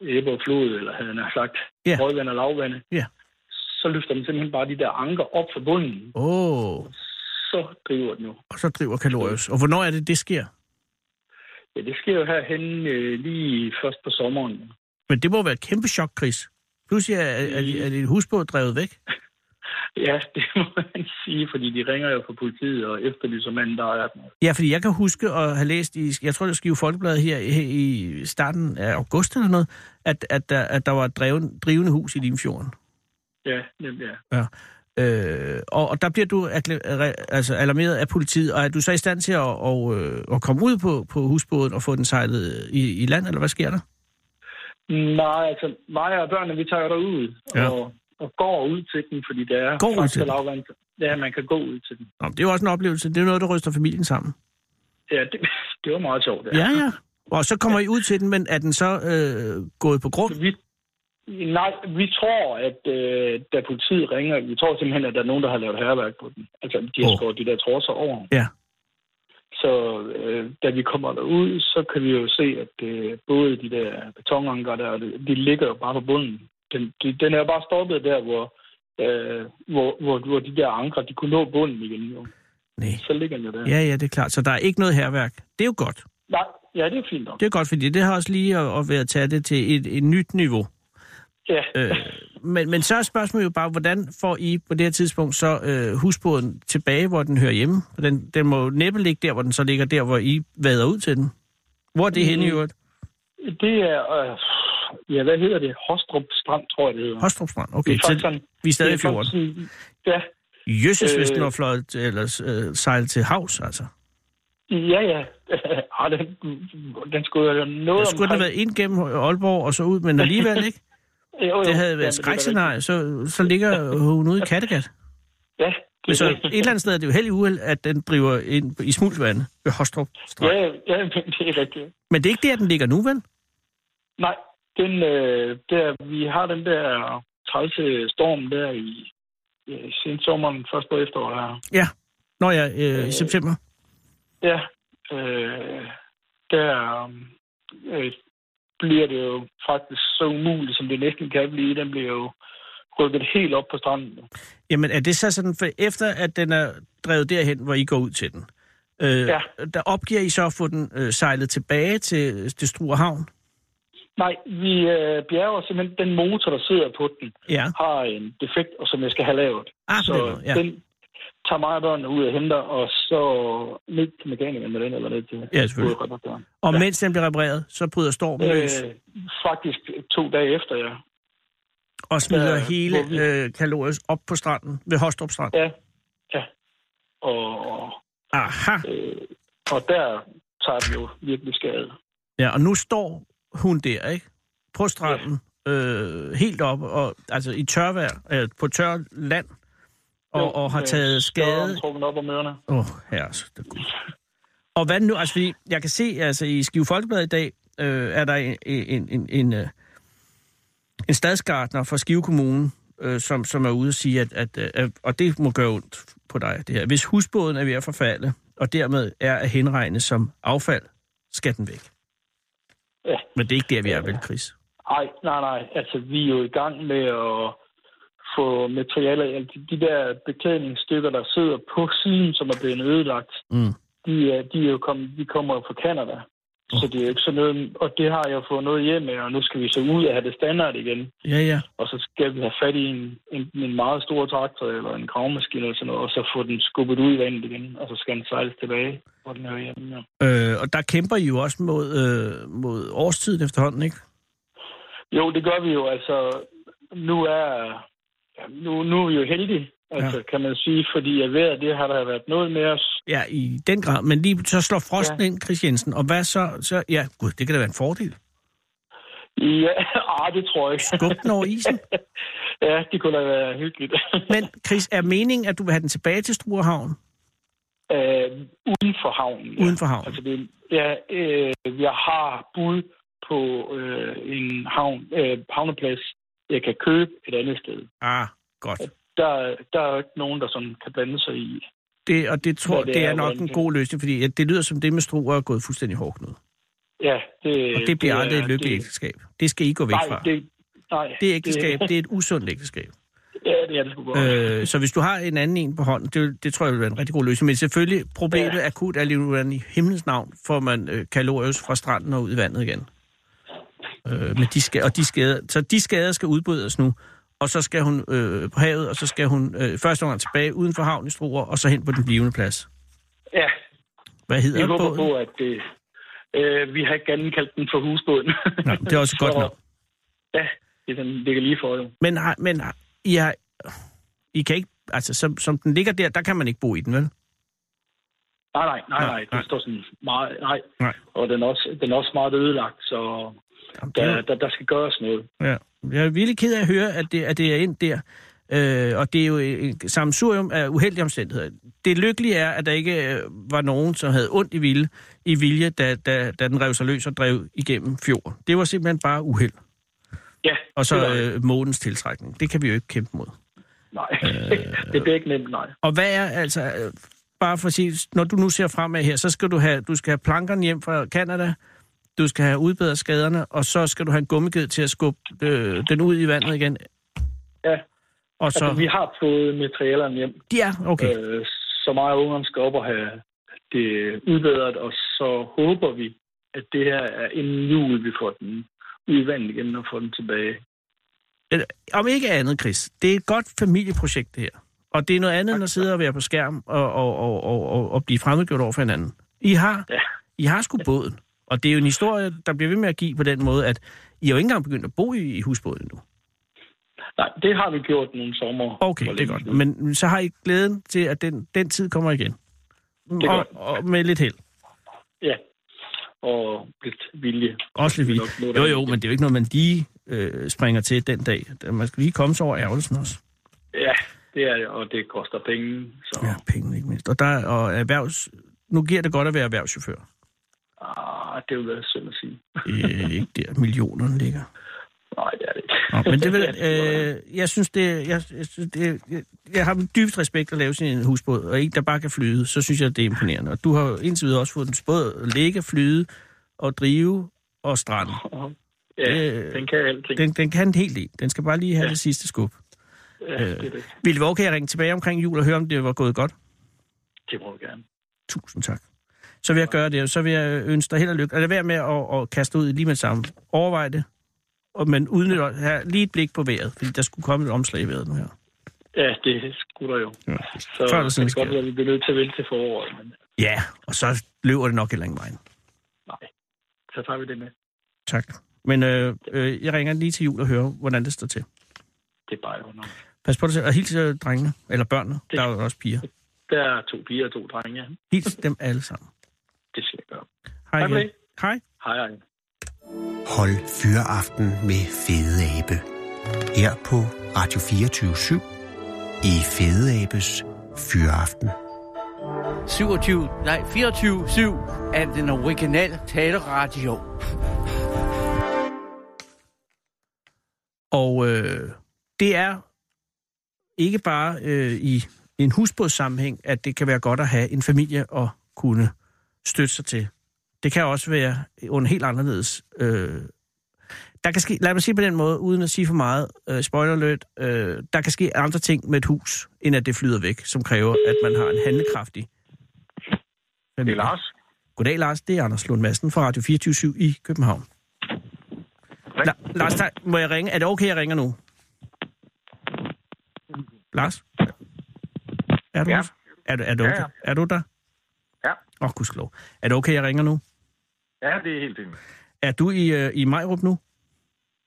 [SPEAKER 4] æbbe og flod, eller havde jeg nær sagt,
[SPEAKER 5] Ja.
[SPEAKER 4] højvand og lavvande,
[SPEAKER 5] Ja.
[SPEAKER 4] så løfter den simpelthen bare de der anker op fra bunden,
[SPEAKER 5] Åh, oh,
[SPEAKER 4] så driver den jo.
[SPEAKER 5] og så driver kalorius. Og hvornår er det, det sker?
[SPEAKER 4] Ja, det sker jo herhen øh, lige først på sommeren.
[SPEAKER 5] Men det må være et kæmpe chok, Chris. Pludselig er, er, er, er dit husbåd drevet væk.
[SPEAKER 4] Ja, det må man sige, fordi de ringer jo fra politiet og efterlyser manden, der er den.
[SPEAKER 5] Ja, fordi jeg kan huske at have læst i, jeg tror det var Skive Folkebladet her i, i starten af august eller noget, at, at, der, at der var et dreven, drivende hus i Limfjorden.
[SPEAKER 4] Ja, nemlig ja.
[SPEAKER 5] Ja. Øh, og, og der bliver du erklæ- re- altså alarmeret af politiet, og er du så i stand til at, og, øh, at komme ud på, på husbåden og få den sejlet i, i land, eller hvad sker der?
[SPEAKER 4] Nej, altså mig og børnene, vi tager jo derud
[SPEAKER 5] Ja.
[SPEAKER 4] og, og går ud til den, fordi det er...
[SPEAKER 5] Går ud til den?
[SPEAKER 4] den? Ja, man kan gå ud til den.
[SPEAKER 5] Nå, men det er jo også en oplevelse, det er jo noget, der ryster familien sammen.
[SPEAKER 4] Ja, det, det var meget sjovt.
[SPEAKER 5] Ja, ja. Og så kommer I ud til den, men er den så øh, gået på grund?
[SPEAKER 4] Vi, nej, vi tror, at øh, da politiet ringer, vi tror simpelthen, at der er nogen, der har lavet herværk på den. Altså, de har
[SPEAKER 5] Åh.
[SPEAKER 4] oh. skåret de der trosser over.
[SPEAKER 5] Ja.
[SPEAKER 4] Så øh, da vi kommer derud, så kan vi jo se, at øh, både de der betonanker der, de de ligger jo bare på bunden. Den, de, den er jo bare stoppet der, hvor, øh, hvor, hvor, hvor de der anker, de kunne nå bunden igen. Jo.
[SPEAKER 5] Nej.
[SPEAKER 4] Så ligger den jo der.
[SPEAKER 5] Ja, ja, det er klart. Så der er ikke noget herværk. Det er jo godt.
[SPEAKER 4] Nej, ja, det er fint nok.
[SPEAKER 5] Det er godt, fordi det har også lige at, at være tage det til et, et nyt niveau.
[SPEAKER 4] Ja,
[SPEAKER 5] Øh, men, men så er spørgsmålet jo bare, hvordan får I på det her tidspunkt så øh, husbåden tilbage, hvor den hører hjemme? For Den, den må jo næppe ligge der, hvor den så ligger der, hvor I vader ud til den. Hvor er det henne i øvrigt?
[SPEAKER 4] Det er, øh, ja, hvad hedder det? Hostrup Strand, tror jeg, det hedder.
[SPEAKER 5] Hostrup Strand.
[SPEAKER 4] Det
[SPEAKER 5] Okay,
[SPEAKER 4] er faktisk
[SPEAKER 5] så
[SPEAKER 4] sådan-
[SPEAKER 5] vi er stadig
[SPEAKER 4] det
[SPEAKER 5] i
[SPEAKER 4] er faktisk
[SPEAKER 5] fjorden.
[SPEAKER 4] sådan- Ja,
[SPEAKER 5] Jøsses, hvis
[SPEAKER 4] øh,
[SPEAKER 5] den var fløjet, eller øh, sejlet til havs, altså.
[SPEAKER 4] ja, ja. Ej, den, den skulle jo noget
[SPEAKER 5] Der skulle den have været ind gennem Aalborg og så ud, men alligevel ikke.
[SPEAKER 4] Jo, jo.
[SPEAKER 5] Det havde
[SPEAKER 4] Jamen, er
[SPEAKER 5] været
[SPEAKER 4] rigtigt.
[SPEAKER 5] skrækscenarie, så, så ligger hun ude i Kattegat.
[SPEAKER 4] Ja.
[SPEAKER 5] Men så
[SPEAKER 4] det-
[SPEAKER 5] et eller andet sted er det jo held i uheld, at den driver ind i smultvandet ved Hostrup Strand.
[SPEAKER 4] Ja, ja, men det er rigtigt.
[SPEAKER 5] Men det er ikke der, den ligger nu, vel?
[SPEAKER 4] Nej, den, øh, der, vi har den der trælse storm der i øh, sent sommeren, først på efteråret her.
[SPEAKER 5] Ja. Når jeg øh, i
[SPEAKER 4] Øh,
[SPEAKER 5] september.
[SPEAKER 4] Ja, øh, der øh, bliver det jo faktisk så umuligt, som det næsten kan blive. Den bliver jo rykket helt op på stranden.
[SPEAKER 5] Jamen er det så sådan, for efter at den er drevet derhen, hvor I går ud til den, øh, ja.
[SPEAKER 4] Ja.
[SPEAKER 5] der opgiver I så at få den øh, sejlet tilbage til, til Struer Havn?
[SPEAKER 4] Nej, vi øh, bjerger simpelthen den motor, der sidder på den,
[SPEAKER 5] Ja.
[SPEAKER 4] har en defekt, og som jeg skal have lavet.
[SPEAKER 5] Ah,
[SPEAKER 4] så
[SPEAKER 5] på den måde, ja.
[SPEAKER 4] den tager mig og børnene ud og henter, og så ned til mekanikeren med den, eller ned til
[SPEAKER 5] Ja, selvfølgelig.
[SPEAKER 4] hovedreparatøren.
[SPEAKER 5] Og
[SPEAKER 4] Ja.
[SPEAKER 5] mens den bliver repareret, så bryder stormen løs
[SPEAKER 4] Øh, faktisk to dage efter, ja.
[SPEAKER 5] og smider
[SPEAKER 4] øh,
[SPEAKER 5] hele
[SPEAKER 4] hvor vi-
[SPEAKER 5] øh, kalorius op på stranden, ved Hostrup Strand.
[SPEAKER 4] Ja, ja. Og,
[SPEAKER 5] Aha.
[SPEAKER 4] øh, og der tager den jo virkelig skade.
[SPEAKER 5] Ja, og nu står hun der, ikke? På stranden, øh, helt op, og, altså i tørvejr, øh, på tør land, og,
[SPEAKER 4] Jo,
[SPEAKER 5] og har
[SPEAKER 4] øh,
[SPEAKER 5] taget skade.
[SPEAKER 4] Så trukken op om ørerne.
[SPEAKER 5] Åh, oh, herres, det gud. Og hvad nu? Altså, fordi jeg kan se, altså i Skive Folkeblad i dag, øh, er der en, en, en, en, øh, en stadsgartner fra Skive Kommune, øh, som, som er ude og sige, at, at, øh, at, og det må gøre ondt på dig, det her. Hvis husbåden er ved at forfalde, og dermed er at henregne som affald, skal den væk.
[SPEAKER 4] Ja.
[SPEAKER 5] Men det er ikke der, vi er, vel, Chris?
[SPEAKER 4] Nej, nej, nej. Altså, vi er jo i gang med at få materialer, altså de der beklædningsstykker, der sidder på siden, som er blevet ødelagt,
[SPEAKER 5] Mm.
[SPEAKER 4] de, er, de, er jo kommet, de kommer jo fra Kanada. Så det er jo ikke sådan noget, og det har jeg jo fået noget hjem med, og nu skal vi så ud og have det standard igen.
[SPEAKER 5] Ja, ja.
[SPEAKER 4] Og så skal vi have fat i en, en, en meget stor traktor eller en gravmaskine eller sådan noget, og så få den skubbet ud i vandet igen, og så skal den sejles tilbage, hvor den hører hjemme. Ja.
[SPEAKER 5] Øh, og der kæmper I jo også mod, øh, mod årstiden efterhånden, ikke?
[SPEAKER 4] Jo, det gør vi jo. Altså, nu er, nu, nu er vi jo heldige, altså,
[SPEAKER 5] Ja.
[SPEAKER 4] ja. kan man sige, fordi at vejret, det har der været noget med os.
[SPEAKER 5] Ja, i den grad. Men lige så slår frosten ja.
[SPEAKER 4] Ja.
[SPEAKER 5] ind, Chris Jensen. Og hvad så? så? Ja, gud, det kan da være en fordel.
[SPEAKER 4] Ja, ah, det tror jeg ikke.
[SPEAKER 5] Skub den over isen.
[SPEAKER 4] Ja, det kunne da være hyggeligt.
[SPEAKER 5] Men Chris, er meningen, at du vil have den tilbage til Struerhavn?
[SPEAKER 4] øh, uden for havnen.
[SPEAKER 5] Uden for havnen.
[SPEAKER 4] Altså, det, ja, øh, jeg har bud på øh, en havn, øh, havneplads, jeg kan købe et andet sted.
[SPEAKER 5] Ah, godt.
[SPEAKER 4] Der, der er jo ikke nogen, der sådan kan blande sig i.
[SPEAKER 5] Det, og det tror
[SPEAKER 4] Hvad det
[SPEAKER 5] det, det er,
[SPEAKER 4] er,
[SPEAKER 5] nok
[SPEAKER 4] hvordan
[SPEAKER 5] en
[SPEAKER 4] det-
[SPEAKER 5] god løsning, fordi ja, det lyder som det med Struer er gået fuldstændig hårdknud.
[SPEAKER 4] Ja, det,
[SPEAKER 5] Og det bliver
[SPEAKER 4] er-
[SPEAKER 5] aldrig et lykkeligt ægteskab. Det skal I gå væk
[SPEAKER 4] Nej,
[SPEAKER 5] fra. Det,
[SPEAKER 4] det, nej,
[SPEAKER 5] det ægteskab, det er et usundt ægteskab.
[SPEAKER 4] Ja, det er det sgu godt. Øh,
[SPEAKER 5] Øh, så hvis du har en anden en på hånden, det, vil- det tror jeg vil være en rigtig god løsning. Men selvfølgelig, problemet ja.
[SPEAKER 4] Ja.
[SPEAKER 5] akut er lige nu, hvordan i himlens navn får man øh, kalorius fra stranden og ud i vandet igen. Øh, men de skal, og de skader, så de skader skal udbrydes nu, og så skal hun øh, på havet, og så skal hun øh, første gang tilbage uden for havn i Struer, og så hen på den blivende plads.
[SPEAKER 4] ja,
[SPEAKER 5] Hvad
[SPEAKER 4] vi
[SPEAKER 5] hedder
[SPEAKER 4] håber
[SPEAKER 5] båden?
[SPEAKER 4] på, at det, øh, vi har ikke andet kaldt den for husbåden.
[SPEAKER 5] Nå, det er også godt
[SPEAKER 4] Så-
[SPEAKER 5] nok.
[SPEAKER 4] Ja, det er den ligger lige for jo.
[SPEAKER 5] Men, har- men har- I, har, I kan ikke, altså som, som den ligger der, der kan man ikke bo i den, vel?
[SPEAKER 4] Nej, nej, nej,
[SPEAKER 5] Nej,
[SPEAKER 4] nej.
[SPEAKER 5] nej.
[SPEAKER 4] Den står sådan meget, nej.
[SPEAKER 5] Nej.
[SPEAKER 4] Og den er også, den er også meget ødelagt, så
[SPEAKER 5] Jamen, det er jo-
[SPEAKER 4] der, der, der skal gøres noget.
[SPEAKER 5] Ja. Jeg er virkelig ked af at høre, at det, at det er ind der. Øh, og det er jo et sammensurium af uheldige omstændigheder. Det lykkelige er, at der ikke øh, var nogen, som havde ondt i vilje, i vilje da, da, da den rev sig løs og drev igennem fjorden. Det var simpelthen bare uheld.
[SPEAKER 4] Ja,
[SPEAKER 5] Og
[SPEAKER 4] det
[SPEAKER 5] så
[SPEAKER 4] er,
[SPEAKER 5] øh, månens tiltrækning. Det kan vi jo ikke kæmpe mod.
[SPEAKER 4] nej.
[SPEAKER 5] øh,
[SPEAKER 4] det bliver ikke nemt, nej.
[SPEAKER 5] Og hvad er altså... Øh, bare for at sige, når du nu ser fremad her, så skal du have, du skal have plankerne hjem fra Kanada, du skal have udbedret skaderne, og så skal du have en gummiged til at skubbe øh, den ud i vandet igen.
[SPEAKER 4] Ja,
[SPEAKER 5] Og så...
[SPEAKER 4] altså, vi har fået materialerne hjem,
[SPEAKER 5] De er, okay.
[SPEAKER 4] øh, så meget ungerne skal op og have det udbedret, og så håber vi, at det her er inden jul, vi får den ud i vandet igen og får den tilbage.
[SPEAKER 5] Eller, Øh, om ikke andet, Chris, det er et godt familieprojekt, det her. Og det er noget andet end at sidde og være på skærm og, og, og, og, og, og blive fremmedgjort over for hinanden. I har,
[SPEAKER 4] Ja.
[SPEAKER 5] I har sgu båden, Og det er jo en historie, der bliver ved med at give på den måde, at I er jo ikke engang begyndt at bo i, i husbåden endnu.
[SPEAKER 4] Nej, det har vi gjort nogle sommer.
[SPEAKER 5] Okay, det er godt. Men så har I glæden til, at den, den tid kommer igen.
[SPEAKER 4] er
[SPEAKER 5] Og,
[SPEAKER 4] godt.
[SPEAKER 5] og med lidt held.
[SPEAKER 4] Ja, og lidt vilje.
[SPEAKER 5] Også lidt
[SPEAKER 4] Nok noget,
[SPEAKER 5] vildt.
[SPEAKER 4] der
[SPEAKER 5] Jo,
[SPEAKER 4] er
[SPEAKER 5] jo,
[SPEAKER 4] vigtigt.
[SPEAKER 5] men det er jo ikke noget, man lige øh, springer til den dag. Man skal lige komme sig over ærgelsen også.
[SPEAKER 4] Ja, det er det, og det koster penge. Så
[SPEAKER 5] Ja,
[SPEAKER 4] ja.
[SPEAKER 5] penge ikke mindst. Og, der, og erhvervs... Nu giver det godt at være erhvervschauffør.
[SPEAKER 4] ah, det vil være synd at sige.
[SPEAKER 5] Øh, ikke der millionerne ligger.
[SPEAKER 4] Nej, det er det ikke.
[SPEAKER 5] Nå, men det vil,
[SPEAKER 4] øh...
[SPEAKER 5] øh, jeg synes, det, jeg, jeg, synes, det, jeg, jeg har dybt respekt at lave sin husbåd, og en, der bare kan flyde, så synes jeg, det er imponerende. Og du har jo indtil videre også fået den både at ligge, flyde og drive og strande.
[SPEAKER 4] Ja,
[SPEAKER 5] øh,
[SPEAKER 4] den kan alting.
[SPEAKER 5] Den, den kan helt del. Den skal bare lige have ja.
[SPEAKER 4] Ja.
[SPEAKER 5] det sidste skub.
[SPEAKER 4] Ja, det, er det.
[SPEAKER 5] Ville Våge, kan jeg ringe tilbage omkring jul og høre, om det var gået godt?
[SPEAKER 4] det må vi gerne.
[SPEAKER 5] Tusind tak. Så vil jeg gøre det, og så vil jeg ønske dig held og lykke. Og lad være med at, at kaste ud lige med det samme. Overvej det, og man udnytter have lige et blik på vejret, fordi der skulle komme et omslag i vejret nu her.
[SPEAKER 4] Ja, det skulle der jo.
[SPEAKER 5] Ja.
[SPEAKER 4] Så Før
[SPEAKER 5] Før eller
[SPEAKER 4] det
[SPEAKER 5] siden
[SPEAKER 4] kan det godt
[SPEAKER 5] sker
[SPEAKER 4] være, at vi bliver nødt til at vælge til foråret, men
[SPEAKER 5] Ja, og så løber det nok heller ingen vejen.
[SPEAKER 4] nej, så tager vi det med.
[SPEAKER 5] Tak. Men øh, øh, jeg ringer lige til jul og hører, hvordan det står til.
[SPEAKER 4] Det er bare jo nok.
[SPEAKER 5] Pas på dig selv, og hils øh, drengene, eller børnene,
[SPEAKER 4] Det-
[SPEAKER 5] der er jo også piger.
[SPEAKER 4] Der er to piger og to drenge.
[SPEAKER 5] Hils dem alle sammen.
[SPEAKER 4] Det skal jeg gøre.
[SPEAKER 5] Hej
[SPEAKER 4] Tak for
[SPEAKER 5] igen.
[SPEAKER 4] det.
[SPEAKER 5] Hej.
[SPEAKER 4] Hej, hej.
[SPEAKER 3] Hold fyreaften med Fede Abe. Her på Radio 24 i Fede Abes Fyreaften.
[SPEAKER 6] 27, nej, 24-7 af den originale taleradio.
[SPEAKER 5] Og øh, det er ikke bare øh, i en husbådssammenhæng, at det kan være godt at have en familie at kunne støtte sig til. Det kan også være under helt anderledes. Øh, der kan ske, lad mig sige på den måde, uden at sige for meget, øh, spoiler alert, øh, der kan ske andre ting med et hus, end at det flyder væk, som kræver, at man har en handlekraftig
[SPEAKER 4] Det er
[SPEAKER 5] familie.
[SPEAKER 4] Lars.
[SPEAKER 5] Goddag, Lars. Det er Anders Lund Madsen fra Radio 24 i København. La- Lars, tak. må jeg ringe? Er det okay, jeg ringer nu? Lars? Er du,
[SPEAKER 4] Ja.
[SPEAKER 5] er, du- er du,
[SPEAKER 4] Ja,
[SPEAKER 5] okay?
[SPEAKER 4] ja.
[SPEAKER 5] er du der?
[SPEAKER 4] Ja.
[SPEAKER 5] Åh, oh, gudskelov. Er det okay, jeg ringer nu?
[SPEAKER 4] Ja, det er helt fint.
[SPEAKER 5] Er du i, øh, i Majrup nu?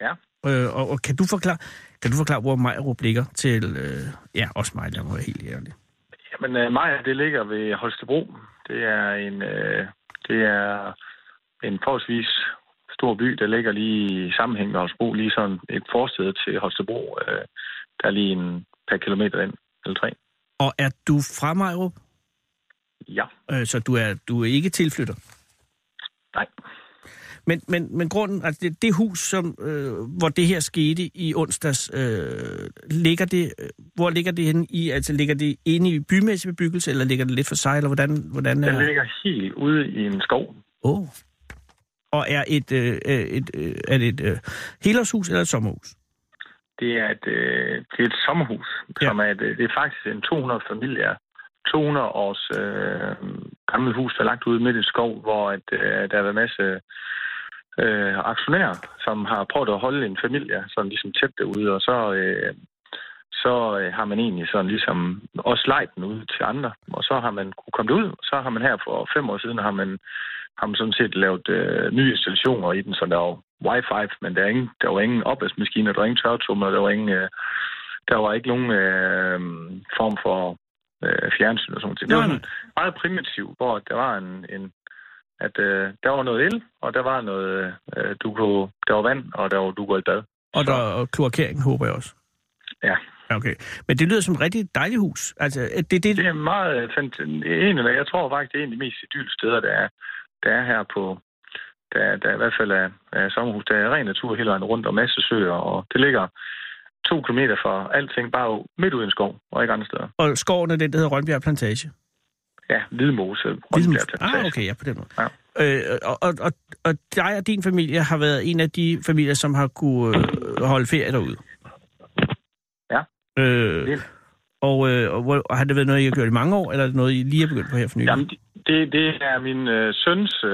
[SPEAKER 4] Ja.
[SPEAKER 5] Øh, og, og kan, du forklare, kan du forklare, hvor Majrup ligger til... Øh, ja, også mig, lad mig være helt ærlig.
[SPEAKER 4] Jamen, øh, Maja, det ligger ved Holstebro. Det er en, øh, det er en forholdsvis stor by, der ligger lige i sammenhæng med Holstebro, lige sådan et forsted til Holstebro. Øh, der er lige en per kilometer ind, eller tre.
[SPEAKER 5] Og er du fra Majrup?
[SPEAKER 4] Ja,
[SPEAKER 5] Øh, så du er, du er ikke tilflytter?
[SPEAKER 4] nej.
[SPEAKER 5] Men, men, men grunden, altså det, det hus, som, øh, hvor det her skete i onsdags, øh, ligger det, øh, hvor ligger det henne i? Altså ligger det inde i bymæssig bebyggelse, eller ligger det lidt for sig, eller hvordan, hvordan
[SPEAKER 4] Den
[SPEAKER 5] er
[SPEAKER 4] ligger helt ude i en skov.
[SPEAKER 5] oh. Og er et, øh, øh, et, øh, er det et øh, helårshus eller et sommerhus?
[SPEAKER 4] Det er et, øh, det er et sommerhus,
[SPEAKER 5] Ja.
[SPEAKER 4] ja. som er, et, øh, det er faktisk en 200 familier, 200 års øh, gammelt hus, der er lagt ude midt i en skov, hvor at, øh, der har været en masse øh, aktionærer, som har prøvet at holde en familie sådan ligesom tæt derude, og så, øh, så øh, har man egentlig sådan ligesom også lejet den ud til andre, og så har man kunne komme ud, og så har man her for fem år siden, har man, har man sådan set lavet øh, nye installationer i den, så der var wifi, men der, er ingen, der var ingen opvaskemaskiner, der var ingen tørretumler, der var ingen, øh, der var ikke nogen øh, form for øh, fjernsyn og sådan noget. Det var
[SPEAKER 5] Nej,
[SPEAKER 4] sådan meget primitivt, hvor der var en, en at øh, der var noget el, og der var noget, øh, du kunne, der var vand, og der var, du går i bad.
[SPEAKER 5] Og der er kloakering, håber jeg også.
[SPEAKER 4] Ja.
[SPEAKER 5] Ja, Okay. Men det lyder som et rigtig dejligt hus. Altså, er det, det,
[SPEAKER 4] Det er meget fantastisk. Jeg tror faktisk, det er en af de mest idylliske steder, der er, der er her på... Der, er- der er i hvert fald er, er sommerhus. Der er ren natur hele vejen rundt og masse søer, og det ligger to kilometer fra alting, bare midt ude i en skov, og ikke andre steder.
[SPEAKER 5] og skoven er den, der hedder Rønbjerg Plantage?
[SPEAKER 4] Ja, Hvidmose.
[SPEAKER 5] Ligesom,
[SPEAKER 4] Rønbjerg Plantage.
[SPEAKER 5] ah, okay, ja, på den måde.
[SPEAKER 4] Ja.
[SPEAKER 5] Øh, og, og, og, og dig og din familie har været en af de familier, som har kunne øh, holde ferie derude.
[SPEAKER 4] Ja.
[SPEAKER 5] Øh,
[SPEAKER 4] Det-
[SPEAKER 5] og, øh, og, hvor- og har det været noget, I har gjort i mange år, eller er det noget, I lige er begyndt på her for nylig?
[SPEAKER 4] Jamen, det, det er min øh, søns, øh,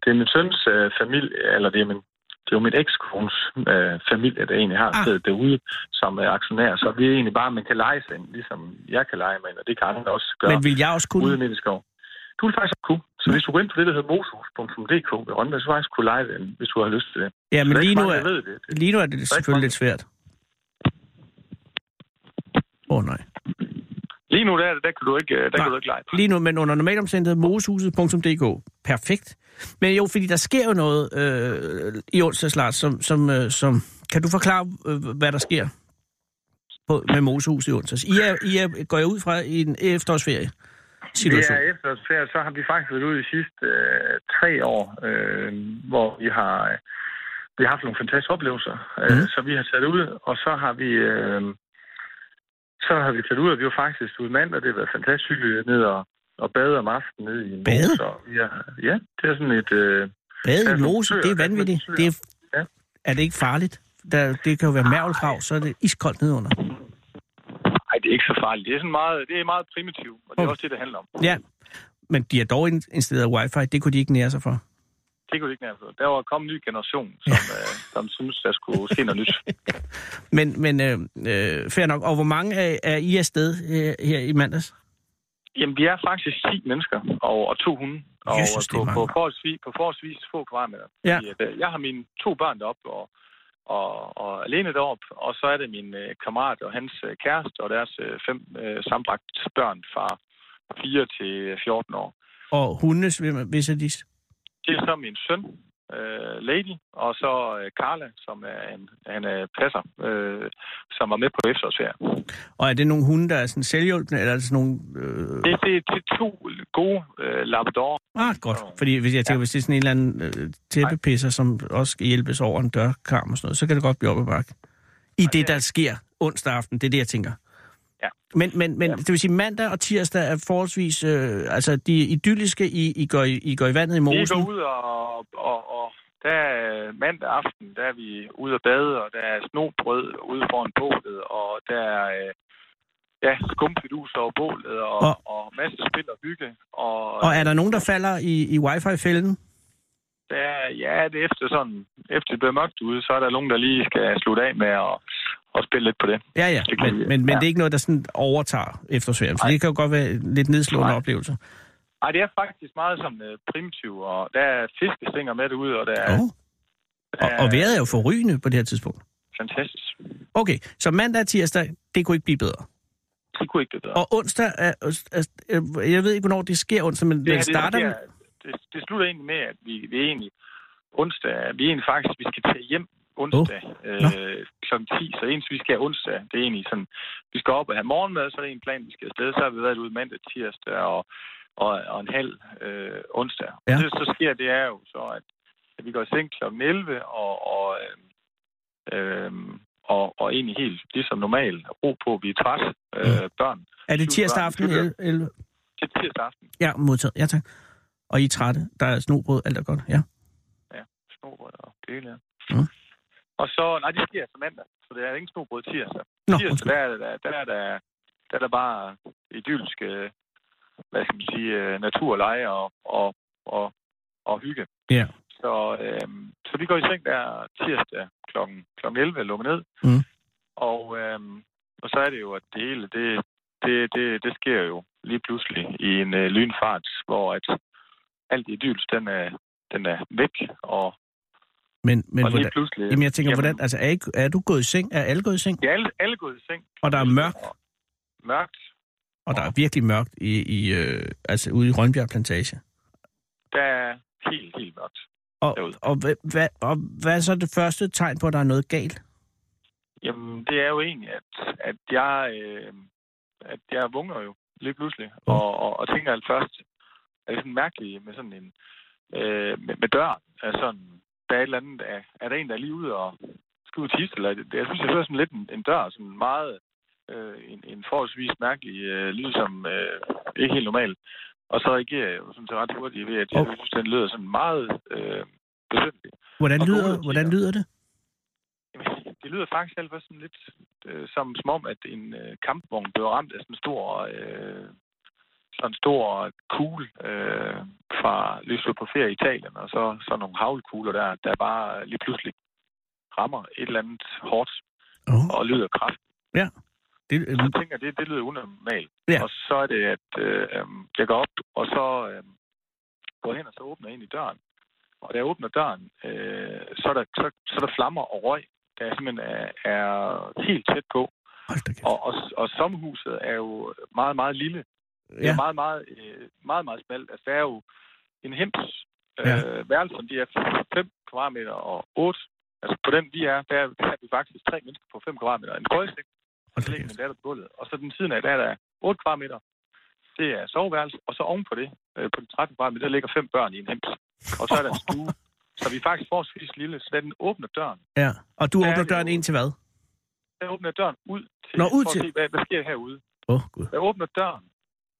[SPEAKER 4] det er min søns øh, familie, eller det er min det er jo min ekskones øh, familie, der egentlig har
[SPEAKER 5] Ah.
[SPEAKER 4] ah. stedet derude som øh, aktionær, så vi er egentlig bare, man kan lege sig ind, ligesom jeg kan lege mig ind, og det kan andre også gøre
[SPEAKER 5] Men vil jeg også
[SPEAKER 4] ude
[SPEAKER 5] kunne?
[SPEAKER 4] midt i skov. Du vil faktisk kunne,
[SPEAKER 7] Så hvis du går ind på det, der hedder mosus.dk ved Rønne, så faktisk kunne lege den, hvis du har lyst til det.
[SPEAKER 5] Ja, men
[SPEAKER 7] Der er
[SPEAKER 5] lige
[SPEAKER 7] ikke
[SPEAKER 5] nu
[SPEAKER 7] mange, der
[SPEAKER 5] er,
[SPEAKER 7] ved det.
[SPEAKER 5] lige nu er det selvfølgelig
[SPEAKER 7] mange.
[SPEAKER 5] lidt svært. Åh oh, nej.
[SPEAKER 7] Lige nu der, er det- der kan du ikke, øh, der
[SPEAKER 5] Nej.
[SPEAKER 7] kan du ikke lege.
[SPEAKER 5] Lige nu, men under normalt omstændighed, mosehuset.dk. Perfekt. Men jo, fordi der sker jo noget øh, i onsdags, Lars, som, som, øh, som... Kan du forklare, øh, hvad der sker på, med mosehuset i onsdags? I, er, I er, går jeg ud fra i en efterårsferie situation.
[SPEAKER 7] Det er efterårsferie, så har vi faktisk været ude de sidste øh, tre år, øh, hvor vi har, øh, vi har haft nogle fantastiske oplevelser. Øh,
[SPEAKER 5] Mhm.
[SPEAKER 7] Så vi har taget ud, og så har vi... Øh, så har vi taget ud, og vi var faktisk ude mandag, det har været fantastisk hyggeligt ned og, og bade om aftenen nede i en
[SPEAKER 5] Bade?
[SPEAKER 7] mose, og vi har, ja, det er sådan et... Øh,
[SPEAKER 5] Bade i
[SPEAKER 7] altså,
[SPEAKER 5] mose, det er
[SPEAKER 7] søer,
[SPEAKER 5] vanvittigt.
[SPEAKER 7] altså,
[SPEAKER 5] Det er,
[SPEAKER 7] Ja.
[SPEAKER 5] er det ikke farligt? Der, det kan jo være mærvelkrav, så er det iskoldt nedenunder.
[SPEAKER 7] ej, det er ikke så farligt. Det er sådan meget, det er meget primitivt, og det
[SPEAKER 5] Mm.
[SPEAKER 7] er også det, det handler om.
[SPEAKER 5] Ja, men de har dog installeret wifi. Det kunne de ikke nære sig for.
[SPEAKER 7] Det kunne det ikke nærmest. Der var kommet en ny generation, som, øh, som synes, der skulle ske noget nyt.
[SPEAKER 5] Men, men øh, øh, fair nok. Og hvor mange er, er I afsted øh, her i mandags?
[SPEAKER 7] Jamen, vi er faktisk 10 mennesker og, og to hunde. Og
[SPEAKER 5] Jesus, det er
[SPEAKER 7] på,
[SPEAKER 5] mange.
[SPEAKER 7] på, forholdsvis, på forholdsvis få kvadratmeter.
[SPEAKER 5] Ja.
[SPEAKER 7] Fordi, at, øh, Jeg har mine to børn deroppe, og, og, og alene deroppe. Og så er det min øh, kammerat og hans øh, kæreste og deres øh, fem øh, sambragte børn fra 4 til 14 år.
[SPEAKER 5] Og hundes, hvis er de...
[SPEAKER 7] Det er så min søn, øh, Lady, og så øh, Carla, som er en, han er passer, øh, som var med på efterårsferie.
[SPEAKER 5] Og er det nogle hunde, der er sådan selvhjulpende, eller er det sådan nogle... Øh...
[SPEAKER 7] Det, det, det er to gode øh, labrador.
[SPEAKER 5] Ah, godt. Fordi hvis jeg tænker, ja. hvis det er sådan en eller anden øh, tæppepisser, som også skal hjælpes over en dørkarm og sådan noget, så kan det godt blive op ad bakke. I det, der sker onsdag aften, det er det, jeg tænker.
[SPEAKER 7] Ja.
[SPEAKER 5] Men, men, men det vil sige, mandag og tirsdag er forholdsvis... Øh, altså, de er idylliske. I, I, går, i, I går i vandet i
[SPEAKER 7] Vi
[SPEAKER 5] mosen.
[SPEAKER 7] går ud og, og, og der er mandag aften, der er vi ude og bade, og der er snobrød ude foran bålet, og der er øh, ja, skumfidus over bålet, og, og,
[SPEAKER 5] Og-
[SPEAKER 7] og masser af spil og hygge. Og,
[SPEAKER 5] Og er der nogen, der falder i, i wifi-fælden?
[SPEAKER 7] der, er- ja, det er efter sådan, efter det bliver mørkt ude, så er der nogen, der lige skal slutte af med at, at spille lidt på det.
[SPEAKER 5] Ja, ja,
[SPEAKER 7] Det kan
[SPEAKER 5] men,
[SPEAKER 7] vi-
[SPEAKER 5] men, men
[SPEAKER 7] ja.
[SPEAKER 5] det er ikke noget, der sådan overtager efterårsferien, for
[SPEAKER 7] Nej.
[SPEAKER 5] det kan jo godt være en lidt nedslående
[SPEAKER 7] Nej.
[SPEAKER 5] oplevelse.
[SPEAKER 7] Ej, det er faktisk meget sådan øh, primitiv, og der er fiskestinger med derude, og der er,
[SPEAKER 5] Ja. Oh. Og, og
[SPEAKER 7] der er
[SPEAKER 5] vejret er jo forrygende på det her tidspunkt.
[SPEAKER 7] fantastisk.
[SPEAKER 5] Okay, så mandag og tirsdag, det kunne ikke blive bedre.
[SPEAKER 7] Det kunne ikke blive bedre.
[SPEAKER 5] Og onsdag, er, er, er, jeg ved ikke, hvornår det sker onsdag, men det,
[SPEAKER 7] her,
[SPEAKER 5] det starter...
[SPEAKER 7] Det,
[SPEAKER 5] Det
[SPEAKER 7] sker- det, det slutter egentlig med, at vi, vi egentlig onsdag, vi er egentlig faktisk, vi skal tage hjem onsdag oh.
[SPEAKER 5] Nå.
[SPEAKER 7] øh, kl. 10, så ens vi skal have onsdag, det er egentlig sådan, vi skal op og have morgenmad, så er det en plan, vi skal afsted, så har vi været ude mandag, tirsdag og, og, og en halv øh, onsdag.
[SPEAKER 5] Ja.
[SPEAKER 7] Ja. Det, så sker det er jo så, at, at vi går i seng kl. 11 og, og øh, øh, og, og egentlig helt ligesom normalt. Ro på, vi er træt, øh, børn.
[SPEAKER 5] er det tirsdag aften?
[SPEAKER 7] Slutter.
[SPEAKER 5] 11, 11?
[SPEAKER 7] Det er tirsdag aften.
[SPEAKER 5] Ja, modtaget. Ja, tak. Og I er trætte. Der er snobrød, alt er godt. Ja.
[SPEAKER 7] snobrød og det hele.
[SPEAKER 5] Mm.
[SPEAKER 7] Mm. Og så, nej, det sker så mandag, så det er ingen snobrød tirsdag.
[SPEAKER 5] Nå,
[SPEAKER 7] tirsdag,
[SPEAKER 5] undskyld.
[SPEAKER 7] der er der, der, er der, der, er der bare idyllisk, øh, hvad skal man sige, øh, naturleje og, og, og, og hygge.
[SPEAKER 5] Ja.
[SPEAKER 7] Så, øh, så vi går i seng der tirsdag klokken, klokken 11, lukker ned.
[SPEAKER 5] Mm.
[SPEAKER 7] Og, øh, og så er det jo, at det hele, det, det, det, det sker jo lige pludselig i en øh, lynfart, hvor at alt idylls, den er, den er væk, og
[SPEAKER 5] Men, men
[SPEAKER 7] og lige
[SPEAKER 5] hvordan,
[SPEAKER 7] pludselig...
[SPEAKER 5] jamen, jeg tænker,
[SPEAKER 7] jamen,
[SPEAKER 5] hvordan, altså, er, I, er du gået i seng? Er alle gået i seng?
[SPEAKER 7] Ja, alle, alle gået i seng.
[SPEAKER 5] Og der er mørkt,
[SPEAKER 7] Og Mørkt.
[SPEAKER 5] og der er virkelig mørkt i, i øh, altså, ude i Rønbjerg Plantage.
[SPEAKER 7] Der er helt, helt mørkt.
[SPEAKER 5] Og,
[SPEAKER 7] derude.
[SPEAKER 5] og, hvad, hvad, og hvad er så det første tegn på, at der er noget galt?
[SPEAKER 7] Jamen, det er jo egentlig, at, at jeg... Øh, at jeg vågner jo lige pludselig, og, og, og tænker alt først, er det sådan mærkeligt med sådan en... Øh, med, med døren, er sådan, der er et eller andet, er, er der en, der er lige ude og skal ud og tisse, eller det, jeg synes, jeg hører sådan lidt en, en dør, sådan meget, øh, en, en forholdsvis mærkelig øh, lyd, som øh, ikke helt normal. Og så reagerer jeg jo sådan set ret hurtigt ved, at jeg
[SPEAKER 5] Okay.
[SPEAKER 7] synes, den lyder sådan meget øh, besøgelig.
[SPEAKER 5] Hvordan
[SPEAKER 7] Og
[SPEAKER 5] lyder,
[SPEAKER 7] gode
[SPEAKER 5] hvordan
[SPEAKER 7] tider.
[SPEAKER 5] lyder det?
[SPEAKER 7] Jamen, Det lyder faktisk alt sådan lidt øh, som, som om, at en øh, kampvogn blev ramt af sådan en stor, øh, sådan en stor kugle øh, fra løslet på ferie i Italien, og så, så nogle havlkugler der, der bare lige pludselig rammer et eller andet hårdt
[SPEAKER 5] Oh,
[SPEAKER 7] og lyder kraft.
[SPEAKER 5] det,
[SPEAKER 7] Så jeg tænker, det, det lyder unormalt.
[SPEAKER 5] Ja.
[SPEAKER 7] Og så er det, at øh, øhm, jeg går op, og så, øh, gået hen, og så åbner jeg ind i døren. Og da jeg åbner døren, øh, så, er der, så, så er der flammer og røg, der simpelthen er, er helt tæt på.
[SPEAKER 5] Hold da kæft.
[SPEAKER 7] Og, og, og sommerhuset er jo meget, meget lille. Det
[SPEAKER 5] Ja.
[SPEAKER 7] er meget, meget, øh, meget, meget smalt. Altså, der er jo en hems. Øh,
[SPEAKER 5] Ja.
[SPEAKER 7] Værelserne, de er 5 kvadratmeter og 8. Altså, på den vi er, der er, der er vi faktisk tre mennesker på 5 kvadratmeter. En køjestik,
[SPEAKER 5] Hold
[SPEAKER 7] så
[SPEAKER 5] da
[SPEAKER 7] ligger min
[SPEAKER 5] kæft.
[SPEAKER 7] datter på gulvet. Og så den siden af, der er der 8 kvadratmeter. Det er soveværelse. Og så ovenpå det, øh, på den 13 kvadratmeter, der ligger fem børn i en hems. Og så er der en stue. Så vi er faktisk forholdsvis lille, så da den åbner døren.
[SPEAKER 5] Ja. Og du
[SPEAKER 7] Ja,
[SPEAKER 5] åbner
[SPEAKER 7] det er
[SPEAKER 5] døren
[SPEAKER 7] jo-
[SPEAKER 5] ind til hvad?
[SPEAKER 7] Der åbner jeg døren ud til,
[SPEAKER 5] Nå, ud
[SPEAKER 7] for
[SPEAKER 5] til-
[SPEAKER 7] at se, hvad, hvad sker herude.
[SPEAKER 5] Åh, oh, gud.
[SPEAKER 7] Da jeg åbner døren,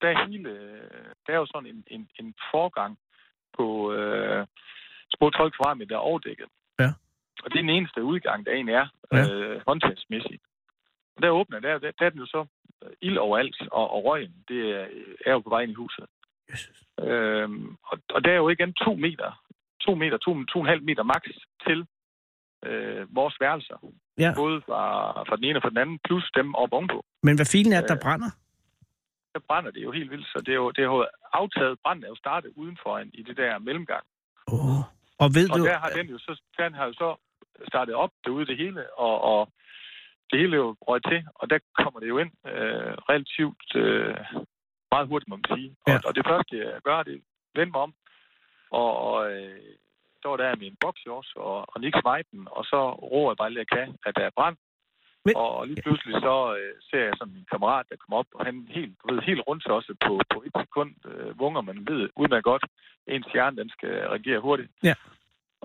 [SPEAKER 7] der er hele, øh, der er jo sådan en, en, en forgang på øh, små 12 kvadratmeter, der er overdækket.
[SPEAKER 5] Ja.
[SPEAKER 7] Og det er den eneste udgang, der egentlig er,
[SPEAKER 5] Ja.
[SPEAKER 7] øh, håndtagsmæssigt. Og der åbner jeg, der, der, der er den jo så øh, ild overalt, og, og røgen, det er, er jo på vej ind i huset.
[SPEAKER 5] Jesus.
[SPEAKER 7] Øhm, og, og der er jo igen to meter, to meter, to, to og en halv meter max til øh, vores værelser.
[SPEAKER 5] Ja.
[SPEAKER 7] Både fra, fra den ene og fra den anden, plus dem op ovenpå
[SPEAKER 5] Men hvad filen er det, der
[SPEAKER 7] Øh,
[SPEAKER 5] brænder?
[SPEAKER 7] der brænder det jo helt vildt, så det er jo, det er jo aftaget branden er jo startet udenfor en, i det der mellemgang.
[SPEAKER 5] Åh. Og ved
[SPEAKER 7] Og
[SPEAKER 5] du...
[SPEAKER 7] der har den jo så, den har jo så startet op derude det hele, og, og det hele er jo røg til, og der kommer det jo ind øh, relativt øh, meget hurtigt, må man sige. Og,
[SPEAKER 5] Ja.
[SPEAKER 7] ja. og det første, jeg gør, det er at vende mig om, og, og øh, så var der min boxshorts og, og Nick Smiten, og så roer jeg bare lige, jeg kan, at der er brand.
[SPEAKER 5] Men-
[SPEAKER 7] Og, og lige pludselig så øh, ser jeg sådan min kammerat, der kommer op, og han helt, du ved, helt rundt også på, på et sekund øh, vunger, man ved udmærket godt, ens hjerne, den skal reagere hurtigt.
[SPEAKER 5] Ja.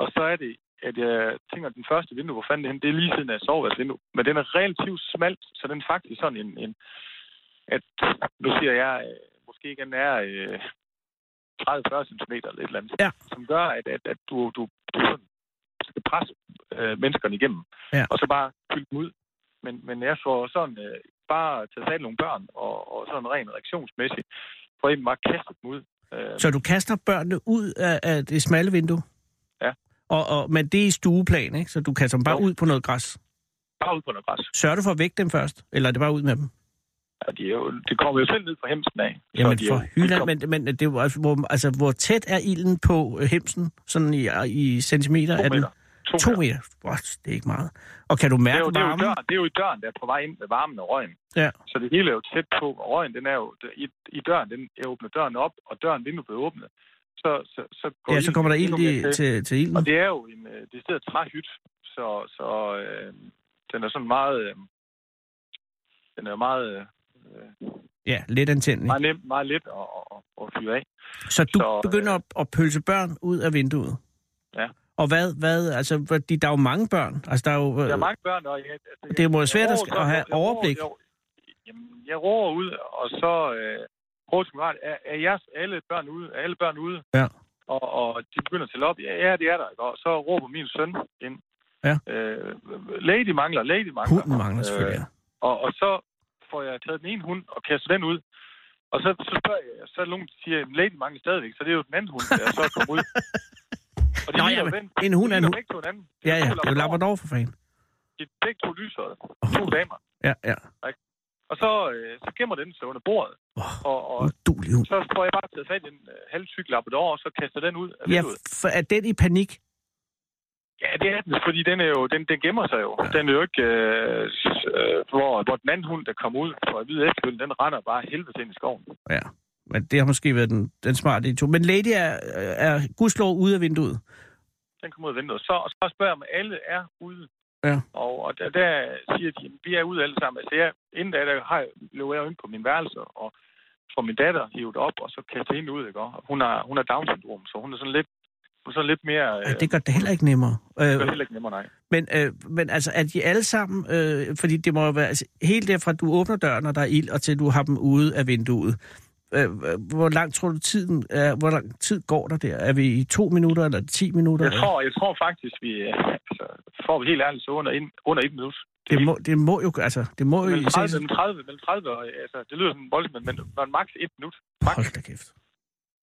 [SPEAKER 7] Og så er det, at jeg tænker, at den første vindue, hvor fanden er det henne, det er lige siden af soveværelsesvindue. Men den er relativt smalt, så den er faktisk sådan en, en at nu siger jeg, øh, måske ikke den er øh, 30-40 cm eller et eller andet,
[SPEAKER 5] Ja.
[SPEAKER 7] som gør, at, at, at du, du, du sådan skal presse øh, menneskerne igennem,
[SPEAKER 5] Ja.
[SPEAKER 7] og så bare fylde dem ud. Men, men jeg får sådan øh, bare taget fat i nogle børn, og, og sådan rent reaktionsmæssigt, for egentlig bare kastet dem ud. Øh,
[SPEAKER 5] Så du kaster børnene ud af, af det smalle vindue?
[SPEAKER 7] Ja.
[SPEAKER 5] Og, og, men det er i stueplan, ikke? Så du kaster dem bare
[SPEAKER 7] Jo.
[SPEAKER 5] ud på noget græs.
[SPEAKER 7] bare ud på noget græs.
[SPEAKER 5] Sørger du for at vække dem først? Eller er det bare ud med dem?
[SPEAKER 7] Ja, de, er jo, de kommer jo selv ned fra hemsen af. Så
[SPEAKER 5] Jamen
[SPEAKER 7] de er
[SPEAKER 5] for
[SPEAKER 7] jo-
[SPEAKER 5] hylden, men, men det er, jo også, hvor, altså, hvor tæt er ilden på øh, hemsen? Sådan i, i centimeter?
[SPEAKER 7] To
[SPEAKER 5] er den?
[SPEAKER 7] meter. To,
[SPEAKER 5] To meter. What, det er ikke meget. Og kan du
[SPEAKER 7] Det er,
[SPEAKER 5] mærke
[SPEAKER 7] jo, det, er jo
[SPEAKER 5] varmen?
[SPEAKER 7] døren, det er jo i døren, der er på vej ind med varmen og røgen.
[SPEAKER 5] Ja.
[SPEAKER 7] Så det hele er jo tæt på, og røgen den er jo i, i døren, den jeg åbner døren op, og døren vinduet bliver åbnet. Så, så, så, går
[SPEAKER 5] Ja, så
[SPEAKER 7] ilden
[SPEAKER 5] kommer der
[SPEAKER 7] endnu
[SPEAKER 5] ild
[SPEAKER 7] mere
[SPEAKER 5] i, til, til ilden.
[SPEAKER 7] Og det er jo en øh, decideret træhyt, så, så øh, den er sådan meget... Øh, den er meget, øh,
[SPEAKER 5] Ja, let antændelig.
[SPEAKER 7] meget, nem, meget let at, at, at fyre af.
[SPEAKER 5] Så du
[SPEAKER 7] Så, øh,
[SPEAKER 5] begynder at, at pølse børn ud af vinduet?
[SPEAKER 7] Ja.
[SPEAKER 5] Og hvad, hvad, altså, fordi der er jo mange børn. Altså, der er jo,
[SPEAKER 7] Der
[SPEAKER 5] øh,
[SPEAKER 7] er mange børn, og jeg, altså, jeg,
[SPEAKER 5] Det må være
[SPEAKER 7] jeg
[SPEAKER 5] svært at
[SPEAKER 7] roer
[SPEAKER 5] sk-
[SPEAKER 7] godt,
[SPEAKER 5] at have
[SPEAKER 7] jeg roer-
[SPEAKER 5] overblik.
[SPEAKER 7] Jeg, jamen, jeg roer ud, og så øh, roer til min ret, er, er jeres alle børn ude? Er alle børn ude?
[SPEAKER 5] Ja.
[SPEAKER 7] Og, og de begynder at tælle op. Ja, ja, det er der. ikke? Og så råber min søn ind.
[SPEAKER 5] Ja.
[SPEAKER 7] Øh, lady mangler, lady mangler.
[SPEAKER 5] hunden mangler selvfølgelig.
[SPEAKER 7] Øh,
[SPEAKER 5] ja.
[SPEAKER 7] Og, og så får jeg taget den ene hund og kastet den ud. Og så, så spørger jeg, så er der nogen, der siger, at Lady mangler stadigvæk, så det er jo den anden hund, der så kommer ud. Og de
[SPEAKER 5] Nå,
[SPEAKER 7] ligner jo
[SPEAKER 5] jamen,
[SPEAKER 7] den-
[SPEAKER 5] en hund
[SPEAKER 7] de
[SPEAKER 5] er en
[SPEAKER 7] ligner
[SPEAKER 5] hund.
[SPEAKER 7] begge to hinanden.
[SPEAKER 5] Ja, ja, det er jo
[SPEAKER 7] Labrador.
[SPEAKER 5] Labrador for fanden.
[SPEAKER 7] De er begge to lyshøjde. To damer.
[SPEAKER 5] Ja, ja.
[SPEAKER 7] Og så, øh, så gemmer den sig under bordet.
[SPEAKER 5] Åh,
[SPEAKER 7] Og, og
[SPEAKER 5] udulig hund.
[SPEAKER 7] så får jeg bare taget fat i en øh, halvsyg labrador, og så kaster den ud af
[SPEAKER 5] Ja,
[SPEAKER 7] vinduet.
[SPEAKER 5] for er den i panik?
[SPEAKER 7] Ja, det er den, fordi den, er jo, den, den gemmer sig jo. Den er jo ikke, øh, s- øh, hvor, hvor den anden hund, der kommer ud fra at vide efterfølgende, den render bare helvede ind i skoven.
[SPEAKER 5] Ja, men det har måske været den, den smarte idé. Men Lady er, er gudslov ude af vinduet.
[SPEAKER 7] Den kommer ud af vinduet. Så, og så spørger jeg, om alle er ude.
[SPEAKER 5] Ja.
[SPEAKER 7] Og, og der, der, siger de, at vi er ude alle sammen. Altså, jeg, inden da, der har, jeg- løber jeg jo ind på min værelse, og får min datter hivet op, og så kaster hende ud, ikke? Og Hun har, hun har Down-syndrom, så hun er sådan lidt, hun er sådan lidt mere... øh,
[SPEAKER 5] Ja, det gør det heller ikke nemmere.
[SPEAKER 7] Det er
[SPEAKER 5] Øh,
[SPEAKER 7] heller ikke nemmere, nej.
[SPEAKER 5] men, øh, men altså, er de alle sammen... Øh, fordi det må jo være... Altså, helt derfra, du åbner døren, og der er ild, og til du har dem ude af vinduet. Øh, hvor lang tror du tiden er, hvor lang tid går der der? Er vi i to minutter eller ti minutter?
[SPEAKER 7] Jeg tror, jeg tror faktisk, vi øh, altså, får vi helt ærligt så under, ind, under et minut.
[SPEAKER 5] det, må, det må jo altså, det må jo
[SPEAKER 7] Mellem
[SPEAKER 5] se-
[SPEAKER 7] 30, mellem 30, mellem 30 og, altså, det lyder sådan voldsomt, men, men, men maks et minut. Maks.
[SPEAKER 5] Hold da kæft.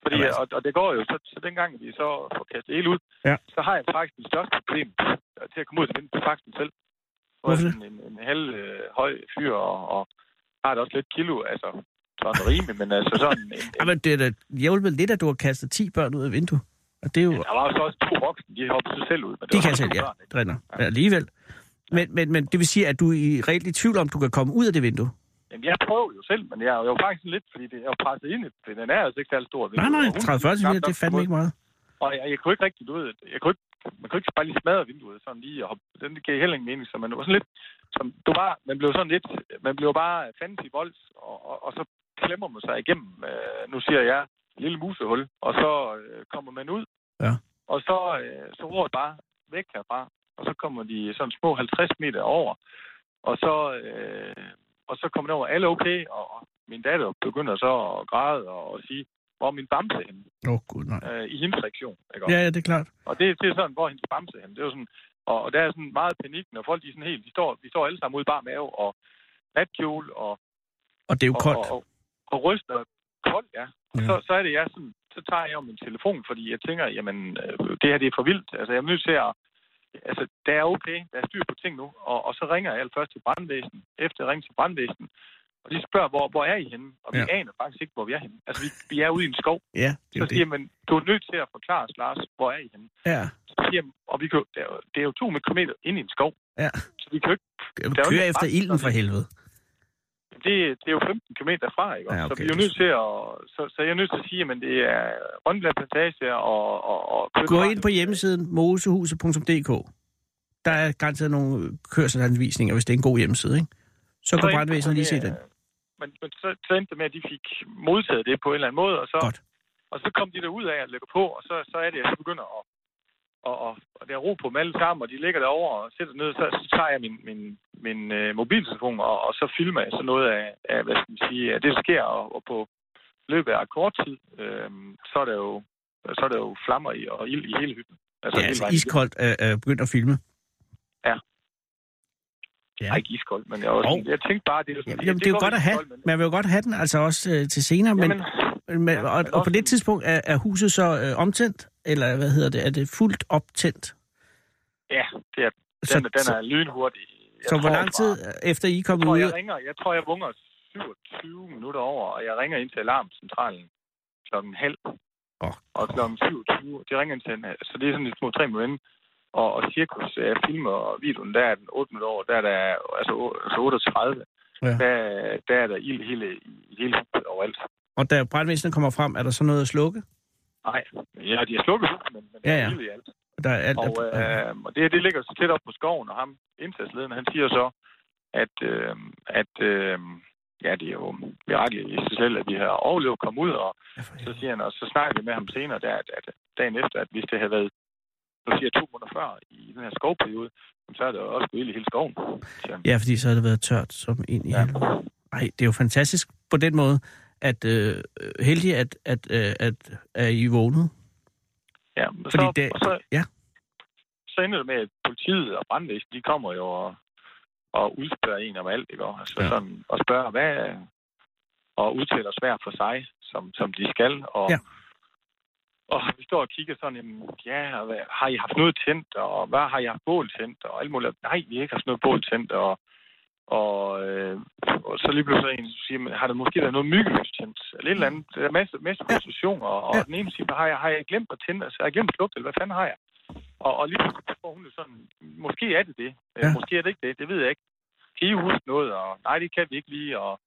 [SPEAKER 7] Fordi,
[SPEAKER 5] Jamen, altså.
[SPEAKER 7] og, og det går jo, så, så dengang vi så får kastet el ud,
[SPEAKER 5] Ja.
[SPEAKER 7] så har jeg faktisk det største problem øh, til at komme ud til vinduet, faktisk mig selv. Nu er
[SPEAKER 5] Hvorfor
[SPEAKER 7] jeg
[SPEAKER 5] det?
[SPEAKER 7] sådan En, en halv øh, høj fyr, og, og har det også lidt kilo, altså sådan rimeligt, men altså sådan... En, en,
[SPEAKER 5] Jamen, det er da hjælpet lidt, at du har kastet 10 børn ud af vinduet. Og det er jo...
[SPEAKER 7] der var jo så også to voksne, de hoppede sig selv ud. Men det
[SPEAKER 5] De
[SPEAKER 7] var
[SPEAKER 5] kan
[SPEAKER 7] også
[SPEAKER 5] selv,
[SPEAKER 7] to
[SPEAKER 5] ja.
[SPEAKER 7] børn, ikke?
[SPEAKER 5] Drenner. Ja, alligevel. Men, men, men det vil sige, at du er i reelt i tvivl om, du kan komme ud af det vindue?
[SPEAKER 7] Jamen, jeg prøver jo selv, men jeg er jo faktisk lidt, fordi det, jeg er jo presset ind. i det. Den er altså ikke særlig stor.
[SPEAKER 5] Nej, nej, 30-40 cm, det er fandme ikke meget.
[SPEAKER 7] Og jeg, jeg kunne ikke rigtig, du ved, jeg kunne ikke, man kunne ikke bare lige smadre vinduet sådan lige, og hoppe. den gav heller ingen mening, så man var sådan lidt, som, du var, man blev sådan lidt, man blev bare fandt i vold, og, og, og så klemmer man sig igennem, øh, nu siger jeg, lille musehul, og så øh, kommer man ud,
[SPEAKER 5] Ja.
[SPEAKER 7] og så, øh, så roer det bare væk herfra, og så kommer de sådan små 50 meter over, og så, øh, og så kommer det over, alle okay, og, og min datter begynder så at græde og, og sige, hvor er min bamse henne?
[SPEAKER 5] Åh, oh, gud, nej.
[SPEAKER 7] Øh, I hendes sektion, ikke? også?
[SPEAKER 5] Ja, ja, det er klart.
[SPEAKER 7] Og det, det er sådan, hvor hendes bamse er henne. Det er jo sådan, og, og der er sådan meget panik, når folk de er sådan helt, de står, de står alle sammen ude i bar mave og natkjole og,
[SPEAKER 5] Og det er jo
[SPEAKER 7] og,
[SPEAKER 5] koldt.
[SPEAKER 7] og, og, og ryster koldt, ja. Og
[SPEAKER 5] Ja.
[SPEAKER 7] så, så er det, jeg sådan, så tager jeg jo min telefon, fordi jeg tænker, jamen, øh, det her det er for vildt. Altså, jeg er nødt til at, altså, det er okay, der er styr på ting nu. Og, og så ringer jeg først til brandvæsen, efter jeg ringer til brandvæsen, og de spørger, hvor, hvor er I henne? Og vi
[SPEAKER 5] Ja.
[SPEAKER 7] aner faktisk ikke, hvor vi er henne. Altså, vi, vi er ude i en skov.
[SPEAKER 5] Ja, det er
[SPEAKER 7] Så
[SPEAKER 5] jo
[SPEAKER 7] siger
[SPEAKER 5] det.
[SPEAKER 7] man, du er nødt til at forklare os, Lars, hvor er I henne?
[SPEAKER 5] Ja,
[SPEAKER 7] Så siger jeg, og vi kan, jo- det, er jo, det er jo 200 km ind i en skov,
[SPEAKER 5] ja.
[SPEAKER 7] så vi kan jo ikke, jo
[SPEAKER 5] Kør
[SPEAKER 7] ikke
[SPEAKER 5] efter
[SPEAKER 7] ret-
[SPEAKER 5] ilden for helvede.
[SPEAKER 7] det, det er jo 15 km derfra, ikke?
[SPEAKER 5] Ja,
[SPEAKER 7] Ja, okay, så
[SPEAKER 5] okay,
[SPEAKER 7] vi er
[SPEAKER 5] det er
[SPEAKER 7] jo nødt til at, så, så jeg er nødt til at sige, at det er Rønland Plantage og, og, og
[SPEAKER 5] Gå ind på hjemmesiden mosehuset.dk. Der er garanteret nogle kørselsanvisninger, hvis det er en god hjemmeside, ikke? Så kan brandvæsenet lige se den.
[SPEAKER 7] øh, Men, men så, så endte det med, at de fik modtaget det på en eller anden måde, og så,
[SPEAKER 5] Godt.
[SPEAKER 7] og så kom de der ud af at lægge på, og så, så er det, at jeg så begynder at og, og, og der er ro på dem alle sammen, og de ligger derovre og sætter ned, så, så tager jeg min, min, min øh, mobiltelefon, og, og så filmer jeg så noget af, af, hvad skal man sige, af det, der sker, og, og på løbet af kort tid, øh, så, er der jo, så er der jo flammer i, og ild i hele hytten.
[SPEAKER 5] Ja,
[SPEAKER 7] hele
[SPEAKER 5] altså
[SPEAKER 7] vejen igennem.
[SPEAKER 5] iskoldt er øh, begyndt at filme. ja.
[SPEAKER 7] Ej, ikke iskoldt, men jeg, var
[SPEAKER 5] Jo.
[SPEAKER 7] sådan, jeg tænkte bare, det er jo sådan...
[SPEAKER 5] Jamen, det er jo
[SPEAKER 7] går
[SPEAKER 5] godt at
[SPEAKER 7] ikke
[SPEAKER 5] have.
[SPEAKER 7] iskoldt, men-
[SPEAKER 5] Man vil jo godt have den, altså også øh, til senere, men,
[SPEAKER 7] Jamen,
[SPEAKER 5] Men,
[SPEAKER 7] Ja,
[SPEAKER 5] og,
[SPEAKER 7] men
[SPEAKER 5] og på
[SPEAKER 7] også-
[SPEAKER 5] det tidspunkt er, er huset så øh, omtændt, eller hvad hedder det, er det fuldt optændt?
[SPEAKER 7] ja, det er, den,
[SPEAKER 5] Så-
[SPEAKER 7] så, den
[SPEAKER 5] så-
[SPEAKER 7] er lynhurtig. Jeg
[SPEAKER 5] så hvor
[SPEAKER 7] tror
[SPEAKER 5] lang
[SPEAKER 7] fra-
[SPEAKER 5] tid øh, efter I er
[SPEAKER 7] Jeg
[SPEAKER 5] kommet
[SPEAKER 7] tror,
[SPEAKER 5] ud?
[SPEAKER 7] jeg ringer, jeg tror, jeg vunger 27 minutter over, og jeg ringer ind til alarmcentralen klokken halv,
[SPEAKER 5] Åh,
[SPEAKER 7] og klokken 27, de ringer ind til, en- øh, så det er sådan lidt små tre minutter inden. og, og cirkus, jeg filmer videoen, der er den 8 minutter over, der er der, altså, o- altså 38,
[SPEAKER 5] Ja.
[SPEAKER 7] ja. der, der er der ild hele, i hele huset overalt.
[SPEAKER 5] Og da brandvæsenet kommer frem, er der så noget at slukke?
[SPEAKER 7] Nej, ja, de har slukket huset, men, men
[SPEAKER 5] Ja,
[SPEAKER 7] ja,
[SPEAKER 5] ja.
[SPEAKER 7] ja. der er ild i alt.
[SPEAKER 5] Der er alt,
[SPEAKER 7] Og, øh, og det her, det ligger så tæt op på skoven, og ham, indsatslederen, han siger så, at, øh, at øh, ja, det er jo mirakel i sig selv, at vi har overlevet at komme ud, og så siger han, og så snakker vi med ham senere, der, at, at dagen efter, at hvis det havde været, nu siger jeg to måneder før, i den her skovperiode, jamen, så er det jo også gået ild i hele skoven. siger han.
[SPEAKER 5] ja, fordi så har det været tørt som ind i ja. Ej, det er jo fantastisk på den måde, at øh, heldig, at, at, øh, at, at I er vågnet.
[SPEAKER 7] ja men
[SPEAKER 5] Fordi
[SPEAKER 7] så,
[SPEAKER 5] det-
[SPEAKER 7] og så,
[SPEAKER 5] ja.
[SPEAKER 7] så ender det med, at politiet og brandvæsen, de kommer jo og, og udspørger en om alt, ikke? også? Altså
[SPEAKER 5] Ja.
[SPEAKER 7] ja. sådan, og spørger, hvad og udtaler os hver for sig, som, som de skal. Og,
[SPEAKER 5] Ja.
[SPEAKER 7] ja. og vi står og kigger sådan, jamen, ja, og hvad, har I haft noget tændt, og hvad har I haft bål tændt, og alt muligt. Nej, vi har ikke haft noget bål tændt, og, og, øh, og så lige pludselig er der en, der siger, men har der måske været noget myggelys tændt, eller et eller andet. Der er masser, masser af positioner, og,
[SPEAKER 5] Ja.
[SPEAKER 7] og den ene siger, har jeg, har jeg glemt at tænde, altså har jeg glemt at slukke, det, eller hvad fanden har jeg? Og, og lige pludselig får hun det sådan, måske er det det,
[SPEAKER 5] Ja.
[SPEAKER 7] ja. måske er det ikke det, det ved jeg ikke. Kan I huske noget, og nej, det kan vi ikke lige, og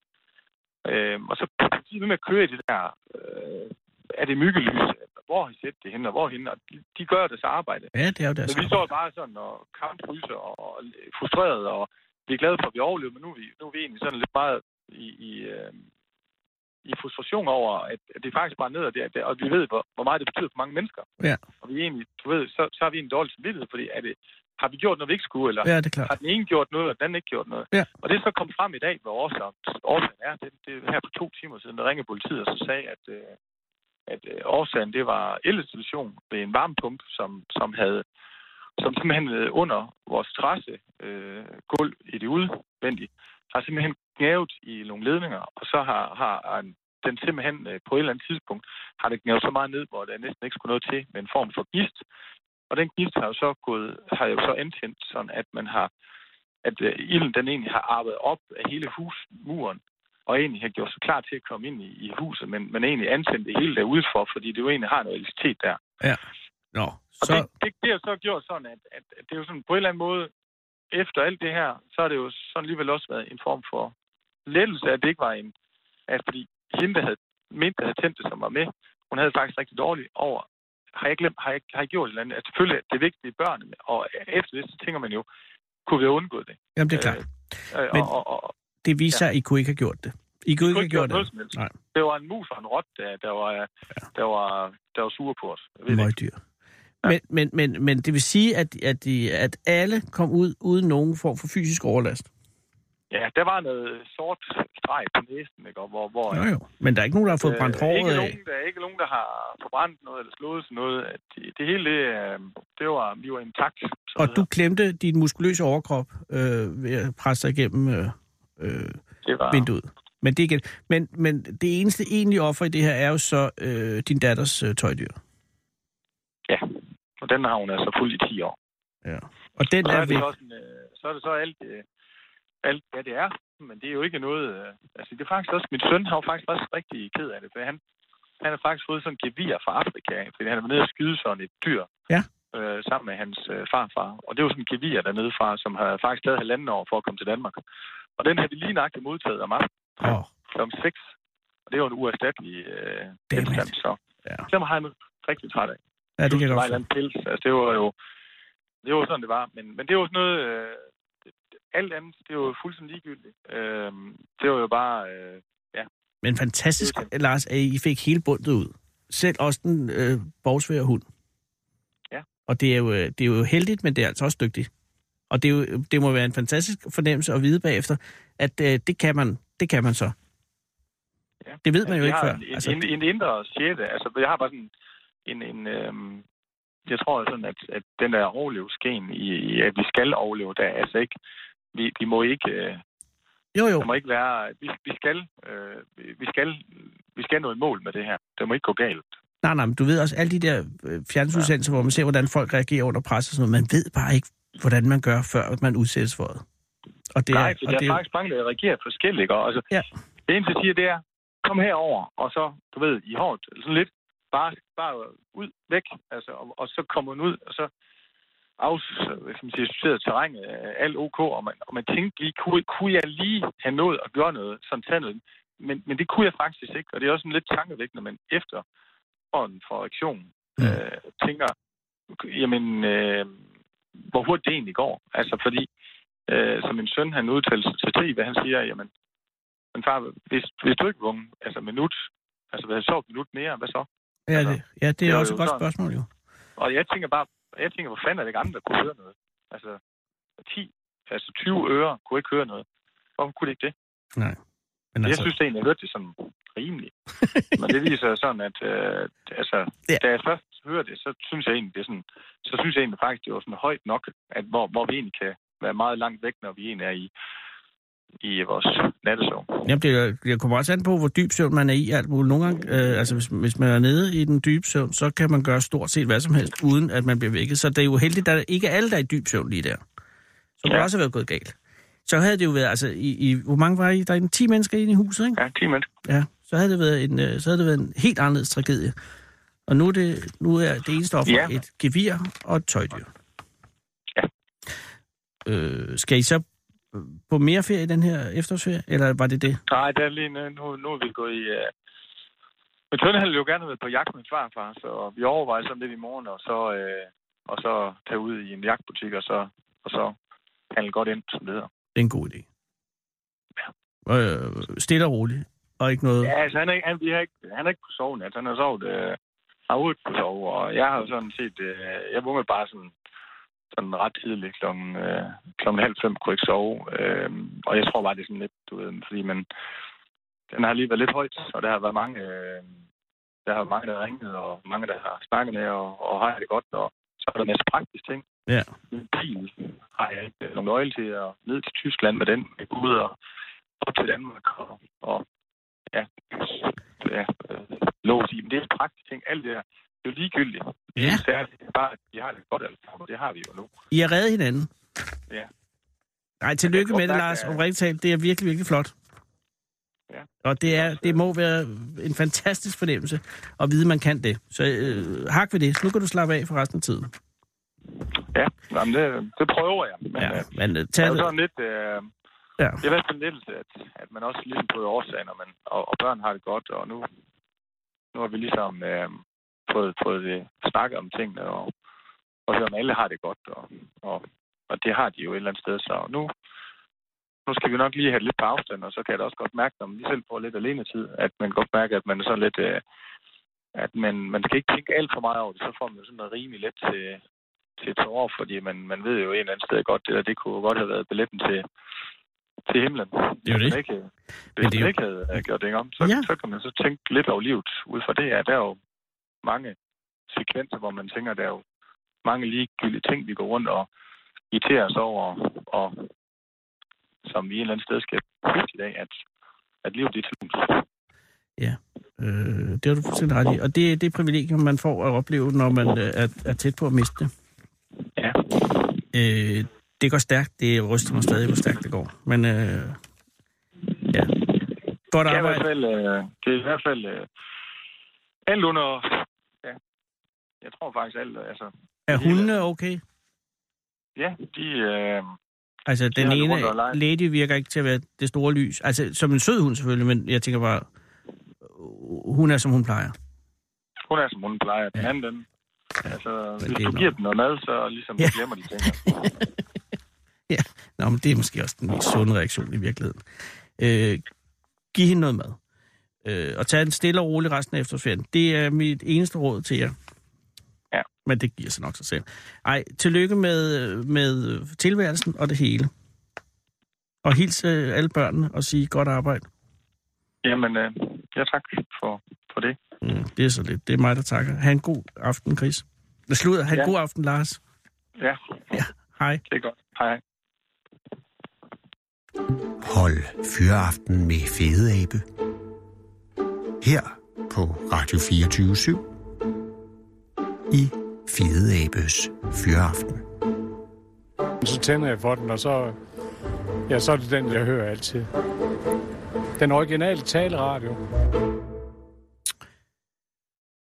[SPEAKER 7] Øhm, og så de ved med at køre i det der, øh, er det myggelys? Hvor har I set det henne, og hvorhen? Og de, de gør deres arbejde.
[SPEAKER 5] Ja, det altså. er jo deres
[SPEAKER 7] Men vi står bare sådan og kampfryser og, og frustreret, og vi er glade for, at vi overlevede, men nu er vi, nu er vi egentlig sådan lidt meget i, i, øh, i frustration over, at, at det faktisk bare er ned og det, og vi ved, hvor, hvor meget det betyder for mange mennesker.
[SPEAKER 5] Ja.
[SPEAKER 7] Og vi er egentlig, du ved, så, så har vi en dårlig samvittighed, fordi er det, har vi gjort noget, vi ikke skulle, eller
[SPEAKER 5] Ja, det er klart.
[SPEAKER 7] har den ene gjort noget, og den anden ikke gjort noget.
[SPEAKER 5] Ja.
[SPEAKER 7] Og det er så kom frem i dag, hvor årsagen, årsagen er. Det, det er her for to timer siden, der ringede politiet og så sagde, at, øh, at øh, årsagen det var elinstallation ved en varmepumpe, som, som havde som simpelthen øh, under vores terrasse øh, gulv i det udvendige, har simpelthen gnavet i nogle ledninger, og så har, har har en, den simpelthen øh, på et eller andet tidspunkt, har det gnavet så meget ned, hvor der næsten ikke skulle noget til med en form for gist. Og den gist har jo så gået, har jo så antændt sådan, at man har at øh, ilden den egentlig har arbejdet op af hele husmuren, og egentlig har gjort sig klar til at komme ind i, i huset, men, men egentlig antændt det hele derude for, fordi det jo egentlig har noget elektricitet der.
[SPEAKER 5] Ja. Nå,
[SPEAKER 7] Og
[SPEAKER 5] så...
[SPEAKER 7] det, det, det har så gjort sådan, at, at, at det er jo sådan på en eller anden måde, efter alt det her, så har det jo sådan alligevel også været en form for lettelse, at det ikke var en... At fordi hende, der havde mindst, der havde tændt det, som var med, hun havde det faktisk rigtig dårligt over, har jeg glemt, har jeg, har jeg gjort et eller andet? At selvfølgelig, at det vigtige er børnene, og efter det, så tænker man jo, kunne vi have undgået det?
[SPEAKER 5] Jamen, det er klart.
[SPEAKER 7] Øh,
[SPEAKER 5] Men-
[SPEAKER 7] og, og, og,
[SPEAKER 5] Det viser sig, at I kunne ikke have gjort det. I kunne ikke
[SPEAKER 7] kunne
[SPEAKER 5] have
[SPEAKER 7] ikke
[SPEAKER 5] gjort
[SPEAKER 7] gjort noget
[SPEAKER 5] det.
[SPEAKER 7] som helst.
[SPEAKER 5] Nej,
[SPEAKER 7] Det var en mus og en rot, der, der, var, der, var, der var sure på os. Jeg ved det ikke.
[SPEAKER 5] møgdyr. Men, men, men, men det vil sige, at, at, de, at alle kom ud uden nogen form for fysisk overlast.
[SPEAKER 7] Ja, der var noget sort streg på næsen, ikke? Og hvor, hvor
[SPEAKER 5] Jo, jo. Men der er ikke nogen, der har fået brændt
[SPEAKER 7] Øh,
[SPEAKER 5] håret
[SPEAKER 7] ikke
[SPEAKER 5] af.
[SPEAKER 7] Nogen, der, ikke nogen, der har forbrændt noget eller slået sådan noget. At Det, det hele, det, øh, det var, vi var intakt. som
[SPEAKER 5] Og
[SPEAKER 7] det
[SPEAKER 5] du
[SPEAKER 7] hedder.
[SPEAKER 5] klemte din muskuløse overkrop øh, ved at presse dig igennem øh, øh,
[SPEAKER 7] det var,
[SPEAKER 5] vinduet. Men det, er igen. Men, men det eneste egentlige offer i det her er jo så øh, din datters øh, tøjdyr.
[SPEAKER 7] Ja, og den har hun altså fuldt i 10 år.
[SPEAKER 5] Ja. Og den
[SPEAKER 7] Og så
[SPEAKER 5] er
[SPEAKER 7] er, det
[SPEAKER 5] væk.
[SPEAKER 7] så, sådan, øh, så er det så alt, øh, alt, hvad det er. Men det er jo ikke noget... Øh, altså, det er faktisk også... Min søn har jo faktisk også rigtig ked af det, for han, han har faktisk fået sådan en gevir fra Afrika, ikke? fordi han er nede og skyde sådan et dyr.
[SPEAKER 5] Ja.
[SPEAKER 7] Øh, sammen med hans øh, farfar. Og det er jo sådan en gevir dernede fra, som har faktisk taget halvanden år for at komme til Danmark. Og den har vi lige nøjagtigt modtaget om aftenen.
[SPEAKER 5] Åh,
[SPEAKER 7] kl. 6. Og det er jo en uerstattelig øh,
[SPEAKER 5] Dammit.
[SPEAKER 7] genstand, så
[SPEAKER 5] Ja.
[SPEAKER 7] det var han rigtig træt af.
[SPEAKER 5] ja, det kan jeg
[SPEAKER 7] var en
[SPEAKER 5] godt
[SPEAKER 7] eller
[SPEAKER 5] forstå.
[SPEAKER 7] anden pils. Altså, det var jo det var sådan, det var. Men, men det var sådan noget... Øh, alt andet, det var jo fuldstændig ligegyldigt. Øh, det var jo bare... Øh,
[SPEAKER 5] Men fantastisk, Lars, at I fik hele bundet ud. Selv også den øh, borgsvære hund.
[SPEAKER 7] Ja.
[SPEAKER 5] Og det er, jo, øh, det er jo heldigt, men det er altså også dygtigt. Og det, er jo, det må være en fantastisk fornemmelse at vide bagefter, at øh, det, kan man, det kan man så.
[SPEAKER 7] Ja.
[SPEAKER 5] Det ved man jo
[SPEAKER 7] vi
[SPEAKER 5] ikke
[SPEAKER 7] har
[SPEAKER 5] før.
[SPEAKER 7] En,
[SPEAKER 5] Altså,
[SPEAKER 7] altså, en, en indre sjette. Altså, jeg har bare sådan en... en øh, jeg tror sådan, at, at den der overlevelsesgen i, i, at vi skal overleve, der er altså ikke... Vi, vi må ikke... Øh,
[SPEAKER 5] jo, jo.
[SPEAKER 7] Der må ikke være, vi, vi skal, øh, vi skal, vi skal nå et mål med det her. Det må ikke gå galt.
[SPEAKER 5] Nej, nej, men du ved også, alle de der øh, fjernsynsudsendelser, hvor man ser, hvordan folk reagerer under pres og sådan noget, man ved bare ikke, hvordan man gør, før man udsættes for det. Og det
[SPEAKER 7] Ja,
[SPEAKER 5] er,
[SPEAKER 7] Nej, for
[SPEAKER 5] og
[SPEAKER 7] der
[SPEAKER 5] det
[SPEAKER 7] er
[SPEAKER 5] er,
[SPEAKER 7] faktisk mange, der reagerer forskelligt. ikke? Og altså,
[SPEAKER 5] Ja.
[SPEAKER 7] Det eneste, jeg siger, det er, kom herover og så, du ved, i hårdt, eller sådan lidt, bare, bare ud, væk, altså, og, og så kommer man ud, og så af, hvad skal man sige, sorteret terrænet, øh, alt ok, og man, og man tænkte lige, kunne, kunne jeg lige have nået at gøre noget, sådan tage noget, men, men det kunne jeg faktisk ikke, og det er også sådan lidt tankevækkende, men efter ånden for reaktionen,
[SPEAKER 5] Mm.
[SPEAKER 7] øh, tænker, jamen, øh, hvor hurtigt det egentlig går, altså fordi, øh, som min søn, han udtalte sig til TV, han siger, jamen, men far, hvis, hvis du ikke vunget, altså minut, altså hvis jeg sov et minut mere, hvad så?
[SPEAKER 5] ja, det, ja, det
[SPEAKER 7] det
[SPEAKER 5] er
[SPEAKER 7] er
[SPEAKER 5] også
[SPEAKER 7] jo
[SPEAKER 5] et godt
[SPEAKER 7] sådan.
[SPEAKER 5] spørgsmål, jo.
[SPEAKER 7] Og jeg tænker bare, jeg tænker, hvor fanden er det ikke andre, der kunne høre noget? Altså, 10, altså 20 øre kunne ikke høre noget. Hvorfor kunne det ikke det?
[SPEAKER 5] Men
[SPEAKER 7] Jeg
[SPEAKER 5] altså,
[SPEAKER 7] synes egentlig, jeg hørte det sådan rimeligt. Men det viser sådan, at øh, altså,
[SPEAKER 5] Ja.
[SPEAKER 7] ja. da jeg først hører det, så synes jeg egentlig, det er sådan, så synes jeg egentlig faktisk, det var sådan højt nok, at hvor, hvor vi egentlig kan være meget langt væk, når vi egentlig er i, i vores nattesov.
[SPEAKER 5] Jamen, det, det kommer også an på, hvor dyb søvn man er i alt muligt. Nogle gange, øh, altså hvis, hvis man er nede i den dybe søvn, så kan man gøre stort set hvad som helst, uden at man bliver vækket. Så det er jo heldigt, at der ikke er alle, der er i dyb søvn lige der. Så kunne
[SPEAKER 7] Ja.
[SPEAKER 5] det også have været gået galt. Så havde det jo været, altså, i, i, hvor mange var I? Der er 10 mennesker inde i huset, ikke?
[SPEAKER 7] Ja, 10 mennesker.
[SPEAKER 5] Ja, så havde det været en, øh, så havde det været en helt anderledes tragedie. Og nu er det, nu er det eneste offer ja.
[SPEAKER 7] Ja.
[SPEAKER 5] et gevir og et tøjdyr.
[SPEAKER 7] Ja.
[SPEAKER 5] Øh, skal I så øh, på mere ferie den her efterårsferie, eller var det det?
[SPEAKER 7] Nej, der er lige nu, nu, nu er vi gået i... Øh... Min søn havde jo gerne været på jagt med farfar, så vi overvejer sådan lidt i morgen, og så, øh, og så tage ud i en jagtbutik, og så, og så handle godt ind, som det hedder.
[SPEAKER 5] Det er en god idé. Øh, stille og roligt, og ikke noget...
[SPEAKER 7] Ja, altså han er, ikke- han, vi har ikke, han er ikke på soven, altså han har sovet øh, har hovedet på sove, og jeg har jo sådan set, øh, jeg vågnede bare sådan, sådan ret tidligt klokken, øh, klokken halv fem kunne jeg ikke sove, øh, og jeg tror bare, det er sådan lidt, du ved, fordi man, den har lige været lidt højt, og der har været mange, øh, der har været mange, der har ringet, og mange, der har snakket med, og, og har jeg det godt, og så er der en masse praktiske ting.
[SPEAKER 5] Ja.
[SPEAKER 7] Min bil har jeg ikke øh, nogen nøgle til, og ned til Tyskland med den, jeg går ud og op til Danmark, og, og ja, ja øh, lås i. Men det er praktisk ting. Alt det der, det er jo ligegyldigt. Det
[SPEAKER 5] Ja.
[SPEAKER 7] er særligt. Bare, at vi har det godt alle sammen, og det har vi jo nu.
[SPEAKER 5] I har reddet hinanden.
[SPEAKER 7] Ja.
[SPEAKER 5] Nej, tillykke
[SPEAKER 7] Jeg tror,
[SPEAKER 5] med det,
[SPEAKER 7] der
[SPEAKER 5] Lars.
[SPEAKER 7] er-
[SPEAKER 5] Om rigtigt talt, det er virkelig, virkelig flot.
[SPEAKER 7] Ja.
[SPEAKER 5] Og det, er, det må være en fantastisk fornemmelse at vide, man kan det. Så øh, hak ved det. Nu kan du slappe af for resten af tiden.
[SPEAKER 7] Ja, jamen det, det prøver jeg. Men,
[SPEAKER 5] Ja,
[SPEAKER 7] ja.
[SPEAKER 5] men øh,
[SPEAKER 7] Det
[SPEAKER 5] tag
[SPEAKER 7] er jo
[SPEAKER 5] det.
[SPEAKER 7] sådan lidt... Øh,
[SPEAKER 5] Ja.
[SPEAKER 7] det er i hvert fald lidt, at, at man også ligesom på årsagen, og, man, og, og børn har det godt, og nu, nu har vi ligesom øh, fået, fået det, snakket om tingene, og, og så om alle har det godt, og, og, og det har de jo et eller andet sted, så nu, nu skal vi nok lige have det lidt på afstand, og så kan jeg da også godt mærke, når man lige selv får lidt alene tid, at man godt mærker, at man er sådan lidt, øh, at man, man skal ikke tænke alt for meget over det, så får man jo sådan noget rimelig let til, til tårer, fordi man, man ved jo et eller andet sted godt, det der, det kunne jo godt have været billetten til, til himlen.
[SPEAKER 5] Det er jo
[SPEAKER 7] Hvis
[SPEAKER 5] det.
[SPEAKER 7] man Ikke, øh,
[SPEAKER 5] Men
[SPEAKER 7] hvis
[SPEAKER 5] det er
[SPEAKER 7] man
[SPEAKER 5] jo-
[SPEAKER 7] ikke havde øh, gjort det om, så,
[SPEAKER 5] Ja.
[SPEAKER 7] ja. så kan man så tænke lidt over livet ud fra det. Ja, der er jo mange sekvenser, hvor man tænker, der er jo mange ligegyldige ting, vi går rundt og irriterer os over, og som vi et eller andet sted skal huske i dag, at, at livet det er tungt.
[SPEAKER 5] Øh, det har du fuldstændig ret i. Og det er det privilegium, man får at opleve, når man øh, er, er tæt på at miste det.
[SPEAKER 7] Ja.
[SPEAKER 5] Øh, det går stærkt. Det ryster mig stadig, hvor stærkt det går. Men øh, ja. Godt
[SPEAKER 7] Det er i hvert
[SPEAKER 5] arbejde.
[SPEAKER 7] fald, øh, det er i hvert fald øh, alt under... Ja, jeg tror faktisk alt... Altså,
[SPEAKER 5] Er hundene okay?
[SPEAKER 7] ja, de... Øh,
[SPEAKER 5] Altså, den
[SPEAKER 7] har det
[SPEAKER 5] ene
[SPEAKER 7] rundt og leger.
[SPEAKER 5] lady virker ikke til at være det store lys. Altså, som en sød hund selvfølgelig, men jeg tænker bare, øh, hun er, som hun plejer.
[SPEAKER 7] hun er, som hun plejer. Den
[SPEAKER 5] Ja.
[SPEAKER 7] anden, den... Altså,
[SPEAKER 5] det er
[SPEAKER 7] hvis du
[SPEAKER 5] nok-
[SPEAKER 7] giver den noget mad, så ligesom
[SPEAKER 5] Ja.
[SPEAKER 7] ja. glemmer de ting.
[SPEAKER 5] Nå, men det er måske også den mest sunde reaktion i virkeligheden. Øh, giv hende noget mad. Øh, og tag den stille og rolig resten af efterårsferien. Det er mit eneste råd til jer.
[SPEAKER 7] Ja.
[SPEAKER 5] Men det giver sig nok sig selv. Ej, tillykke med, med tilværelsen og det hele. Og hils øh, alle børnene og sige godt arbejde.
[SPEAKER 7] Jamen, øh, ja tak for, for det.
[SPEAKER 5] Mm, det er så lidt. Det er mig, der takker. Ha' en god aften, Chris. Det slutter. Ha' en
[SPEAKER 7] Ja.
[SPEAKER 5] god aften, Lars.
[SPEAKER 7] Ja,
[SPEAKER 5] Hej.
[SPEAKER 7] det er godt. Hej.
[SPEAKER 3] Hold Fyraften med Fede Abe. Her på Radio 24 I Fede Abes Fyraften.
[SPEAKER 8] Så tænder jeg for den, og så, ja, så er det den, jeg hører altid. Den originale taleradio.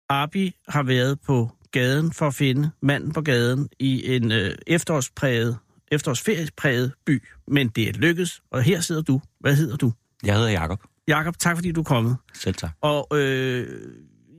[SPEAKER 5] Arbi har været på gaden for at finde manden på gaden i en øh, efterårspræget, efterårsferiepræget by. Men det er lykkedes, og her sidder du. Hvad hedder du?
[SPEAKER 9] Jeg hedder Jakob.
[SPEAKER 5] Jakob, tak fordi du er kommet.
[SPEAKER 9] Selv tak.
[SPEAKER 5] Og øh,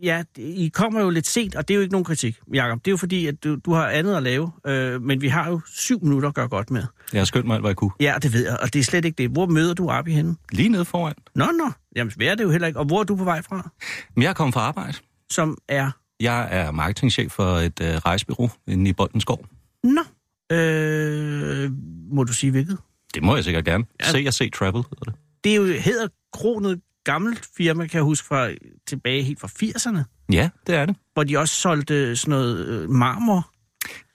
[SPEAKER 5] ja, I kommer jo lidt sent, og det er jo ikke nogen kritik, Jakob. Det er jo fordi, at du, du har andet at lave, øh, men vi har jo syv minutter at gøre godt med.
[SPEAKER 9] Jeg har skyndt mig alt, hvad jeg kunne.
[SPEAKER 5] Ja, det ved jeg, og det er slet ikke det. Hvor møder du Arbi henne?
[SPEAKER 9] Lige nede foran.
[SPEAKER 5] Nå, nå. Jamen, hvad er det jo heller ikke. Og hvor er du på vej fra?
[SPEAKER 9] Men jeg er kommet fra arbejde.
[SPEAKER 5] Som er...
[SPEAKER 9] Jeg er marketingchef for et øh, rejsebureau inde i Boldenskov.
[SPEAKER 5] Nå. Øh, må du sige hvilket?
[SPEAKER 9] Det må jeg sikkert gerne.
[SPEAKER 5] Ja.
[SPEAKER 9] Ja. Se og se travel hedder det.
[SPEAKER 5] det er jo hedder kronet gammelt firma, kan jeg huske fra tilbage helt fra 80'erne,
[SPEAKER 9] Ja, det er det.
[SPEAKER 5] hvor de også solgte øh, sådan noget øh, marmor.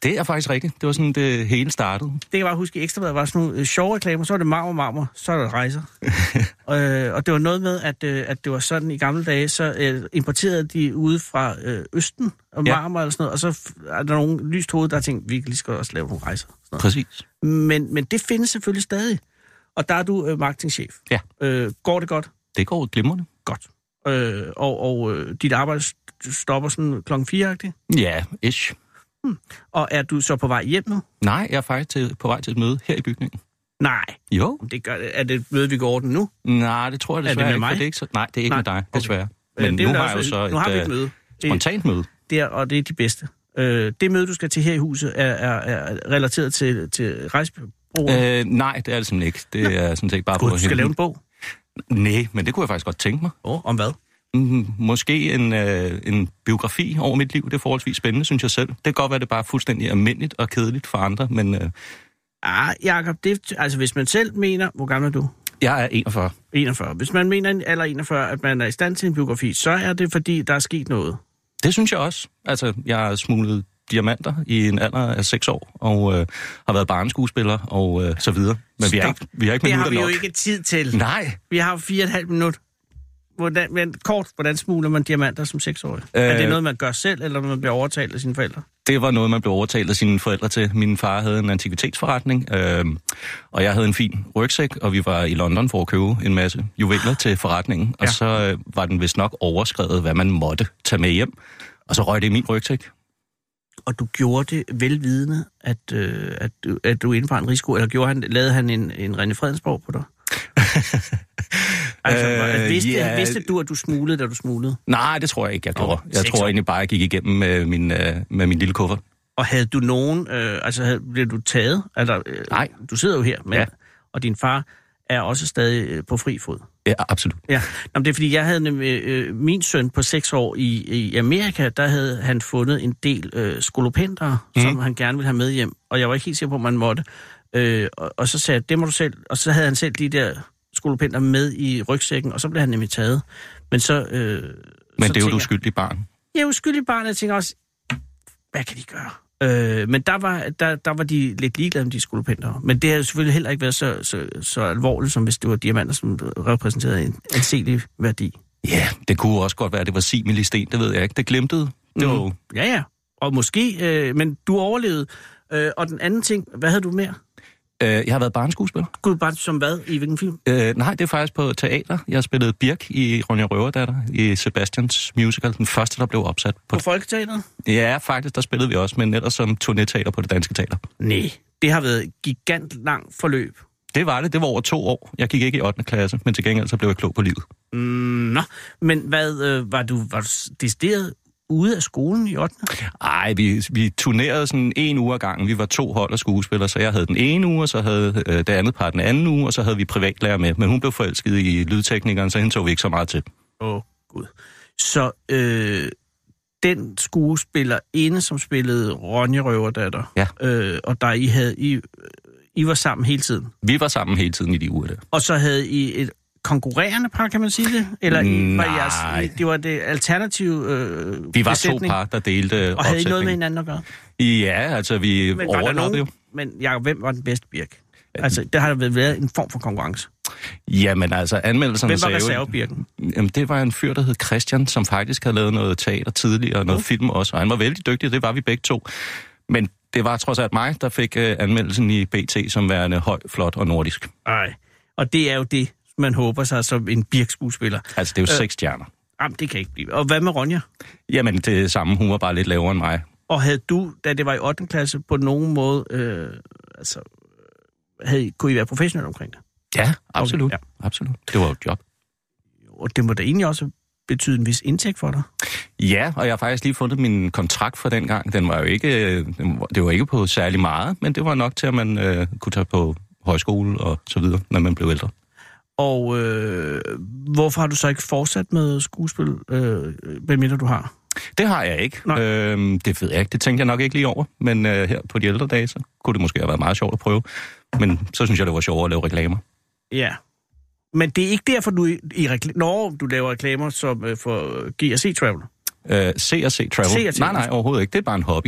[SPEAKER 9] Det er faktisk rigtigt. Det var sådan, det hele startede.
[SPEAKER 5] Det kan jeg bare huske, i Ekstrabladet var sådan nogle øh, sjove reklamer, så var det marmor, marmor, så er der rejser. øh, og det var noget med, at, øh, at det var sådan i gamle dage, så øh, importerede de ude fra øh, Østen og
[SPEAKER 9] Ja.
[SPEAKER 5] marmor eller sådan noget, og så f- er der nogen lyst hoved, der har tænkt, vi kan lige så godt også lave nogle rejser. Sådan noget.
[SPEAKER 9] Præcis.
[SPEAKER 5] Men, men det findes selvfølgelig stadig. Og der er du øh, marketingchef.
[SPEAKER 9] Ja.
[SPEAKER 5] Øh, går det godt?
[SPEAKER 9] Det går glimrende.
[SPEAKER 5] godt. Øh, og og øh, dit arbejde st- stopper sådan klokken 4 -agtigt.
[SPEAKER 9] Ja, ish.
[SPEAKER 5] Og er du så på vej hjem nu?
[SPEAKER 9] Nej, jeg er faktisk til, på vej til et møde her i bygningen.
[SPEAKER 5] Nej,
[SPEAKER 9] Jo.
[SPEAKER 5] det gør, er det et møde, vi går over den nu?
[SPEAKER 9] Nej, det tror jeg
[SPEAKER 5] det
[SPEAKER 9] desværre
[SPEAKER 5] med
[SPEAKER 9] ikke. for
[SPEAKER 5] mig?
[SPEAKER 9] Det er ikke så... Nej, det er ikke
[SPEAKER 5] Nej,
[SPEAKER 9] med dig,
[SPEAKER 5] okay.
[SPEAKER 9] desværre.
[SPEAKER 5] Øh,
[SPEAKER 9] Men
[SPEAKER 5] det er
[SPEAKER 9] nu
[SPEAKER 5] da
[SPEAKER 9] har jeg jo
[SPEAKER 5] også-
[SPEAKER 9] så et
[SPEAKER 5] nu har vi et
[SPEAKER 9] øh,
[SPEAKER 5] møde. Det,
[SPEAKER 9] spontant møde.
[SPEAKER 5] der, og det er de bedste. Øh, det møde, du skal til her i huset, er, er, er relateret til, til rejsebureauet. Øh,
[SPEAKER 9] Øh, nej, det er det simpelthen ikke. Det er sådan set bare
[SPEAKER 5] Gud,
[SPEAKER 9] for
[SPEAKER 5] du skal lave en bog.
[SPEAKER 9] Nej, men det kunne jeg faktisk godt tænke mig.
[SPEAKER 5] Oh, om hvad?
[SPEAKER 9] Mm, måske en, øh, en biografi over mit liv. Det er forholdsvis spændende, synes jeg selv. Det kan godt være, det bare er fuldstændig almindeligt og kedeligt for andre, men øh,
[SPEAKER 5] Ah, Jacob, det, altså hvis man selv mener... Hvor gammel er du?
[SPEAKER 9] jeg er 41.
[SPEAKER 5] 41. Hvis man mener i en alder 41, at man er i stand til en biografi, så er det, fordi der er sket noget.
[SPEAKER 9] Det synes jeg også. Altså, jeg har smuglet diamanter i en alder af 6 år, og øh, har været barneskuespiller og øh, så videre. Men vi er
[SPEAKER 5] Stop.
[SPEAKER 9] ikke, vi er ikke
[SPEAKER 5] Det
[SPEAKER 9] minutter
[SPEAKER 5] har vi
[SPEAKER 9] nok.
[SPEAKER 5] jo ikke tid til.
[SPEAKER 9] Nej,
[SPEAKER 5] Vi har jo fire og et halvt minut. Hvordan, men kort, hvordan smugler man diamanter som seksårig? Øh, er det noget, man gør selv, eller når man bliver overtalt af sine forældre?
[SPEAKER 7] det var noget, man blev overtalt af sine forældre til. Min far havde en antikvitetsforretning, øh, og jeg havde en fin rygsæk, og vi var i London for at købe en masse juveler til forretningen. Og
[SPEAKER 5] Ja.
[SPEAKER 7] ja. så øh, var den vist nok overskrevet, hvad man måtte tage med hjem. Og så røg det i min rygsæk.
[SPEAKER 5] Og du gjorde det velvidende, at, øh, at, du- at du indebar en risiko, eller gjorde han, lavede han en, en René Fredensborg på dig? altså, øh,
[SPEAKER 7] Øh,
[SPEAKER 5] vidste,
[SPEAKER 7] ja.
[SPEAKER 5] vidste du, at du smuglede, da du smuglede?
[SPEAKER 7] Nej, det tror jeg ikke, jeg gjorde. jeg
[SPEAKER 5] seks år.
[SPEAKER 7] tror egentlig bare, jeg gik igennem med min, øh, med min lille kuffert.
[SPEAKER 5] Og havde du nogen, øh, altså havde, blev du taget? Altså, øh,
[SPEAKER 7] Nej.
[SPEAKER 5] Du sidder jo her, men, ja.
[SPEAKER 7] Ja.
[SPEAKER 5] og din far er også stadig øh, på fri fod.
[SPEAKER 7] Ja, absolut.
[SPEAKER 5] Ja, Nå, men det er fordi, jeg havde nemlig, øh, min søn på 6 år i, i Amerika, der havde han fundet en del øh, skolopenter,
[SPEAKER 7] Mhm.
[SPEAKER 5] mm. som han gerne ville have med hjem, og jeg var ikke helt sikker på, om man måtte. Øh, og, og så sagde jeg, det må du selv, og så havde han selv de der skolopenter med i rygsækken, og så blev han nemlig taget. Men så... Øh,
[SPEAKER 7] Men
[SPEAKER 5] så
[SPEAKER 7] det er jo
[SPEAKER 5] tænker-
[SPEAKER 7] du skyldig barn.
[SPEAKER 5] jeg er uskyldig barn, jeg tænker også, hvad kan de gøre? Øh, men der var, der, der var de lidt ligeglade med de skolopenter. Men det har jo selvfølgelig heller ikke været så, så, så alvorligt, som hvis det var diamanter, som repræsenterede en anselig værdi.
[SPEAKER 7] Ja, det kunne også godt være, at det var simil sten, det ved jeg ikke. Det glimtede. Det
[SPEAKER 5] Mm.
[SPEAKER 7] var jo
[SPEAKER 5] Ja, ja. Og måske, øh, men du overlevede. Øh, og den anden ting, hvad havde du mere?
[SPEAKER 7] Øh, jeg har været barneskuespiller.
[SPEAKER 5] Gud, bare som hvad? I hvilken film?
[SPEAKER 7] Øh, nej, det er faktisk på teater. Jeg spillede Birk i Ronja Røverdatter i Sebastians musical, den første, der blev opsat. På,
[SPEAKER 5] På Folketeateret?
[SPEAKER 7] ja, faktisk, der spillede vi også, men ellers som turnéteater på det danske teater.
[SPEAKER 5] Nej. Det har været et gigant langt forløb.
[SPEAKER 7] Det var det. Det var over to år. Jeg gik ikke i 8. klasse, men til gengæld så blev jeg klog på livet.
[SPEAKER 5] Mm, nå, men hvad, øh, var du, var du s- decideret ude af skolen i 8.
[SPEAKER 7] Ej, vi, vi turnerede sådan en uge ad gangen. Vi var to hold af skuespillere, så jeg havde den ene uge, og så havde øh, det andet par den anden uge, og så havde vi privatlærer med. Men hun blev forelsket i lydteknikeren, så hende tog vi ikke så meget til.
[SPEAKER 5] Åh, oh, Gud. Så øh, den skuespiller inde, som spillede Ronja Røverdatter,
[SPEAKER 7] Ja.
[SPEAKER 5] øh, og der I havde, I, I var sammen hele tiden,
[SPEAKER 7] Vi var sammen hele tiden i de uger der.
[SPEAKER 5] og så havde I et konkurrerende par, kan man sige det? Eller I, var I
[SPEAKER 7] Nej.
[SPEAKER 5] jeres, I, det var det alternative øh,
[SPEAKER 7] Vi var
[SPEAKER 5] besætning,
[SPEAKER 7] to par, der delte øh,
[SPEAKER 5] Og havde I noget med
[SPEAKER 7] opsætningen.
[SPEAKER 5] hinanden at gøre?
[SPEAKER 7] Ja, altså vi
[SPEAKER 5] Men, var der
[SPEAKER 7] overlappede jo.
[SPEAKER 5] nogen, men Jacob, hvem var den bedste Birk? Altså, der har vel været en form for konkurrence.
[SPEAKER 7] Jamen altså, anmeldelserne
[SPEAKER 5] Hvem var
[SPEAKER 7] sagde jo...
[SPEAKER 5] reservebirken?
[SPEAKER 7] Jamen, det var en fyr, der hed Christian, som faktisk havde lavet noget teater tidligere og noget
[SPEAKER 5] Mm.
[SPEAKER 7] film også. Og han var vældig dygtig, det var vi begge to. Men det var trods alt mig, der fik øh, anmeldelsen i BT som værende høj, flot og nordisk.
[SPEAKER 5] Nej. Og det er jo det, man håber sig som en Birk-skuespiller.
[SPEAKER 7] Altså, det er jo
[SPEAKER 5] Øh.
[SPEAKER 7] øh. seks stjerner.
[SPEAKER 5] Jamen, det kan ikke blive. Og hvad med Ronja?
[SPEAKER 7] Jamen, det samme, hun var bare lidt lavere end mig.
[SPEAKER 5] Og havde du, da det var i 8. klasse, på nogen måde, øh, altså, havde, I- kunne I være professionelle omkring det?
[SPEAKER 7] Ja, absolut.
[SPEAKER 5] ja.
[SPEAKER 7] Okay, ja. absolut. Det var jo et job.
[SPEAKER 5] Og det må da egentlig også betyde en vis indtægt for dig.
[SPEAKER 7] Ja, og jeg har faktisk lige fundet min kontrakt fra den gang. Den var jo ikke, øh, den var- det var ikke på særlig meget, men det var nok til, at man øh, kunne tage på højskole og så videre, når man blev ældre.
[SPEAKER 5] Og øh, hvorfor har du så ikke fortsat med skuespil, øh, hvad mindre du har?
[SPEAKER 7] Det har jeg ikke.
[SPEAKER 5] Nej.
[SPEAKER 7] Øhm, det ved jeg ikke. Det tænkte jeg nok ikke lige over. Men øh, her på de ældre dage, så kunne det måske have været meget sjovt at prøve. Men så synes jeg, det var sjovere at lave reklamer.
[SPEAKER 5] Ja. Men det er ikke derfor, du i, i rekl- Når du laver reklamer som øh, for GRC Travel.
[SPEAKER 7] Øh, C&C Travel.
[SPEAKER 5] C&C.
[SPEAKER 7] Nej, nej, overhovedet ikke. Det er bare en hobby.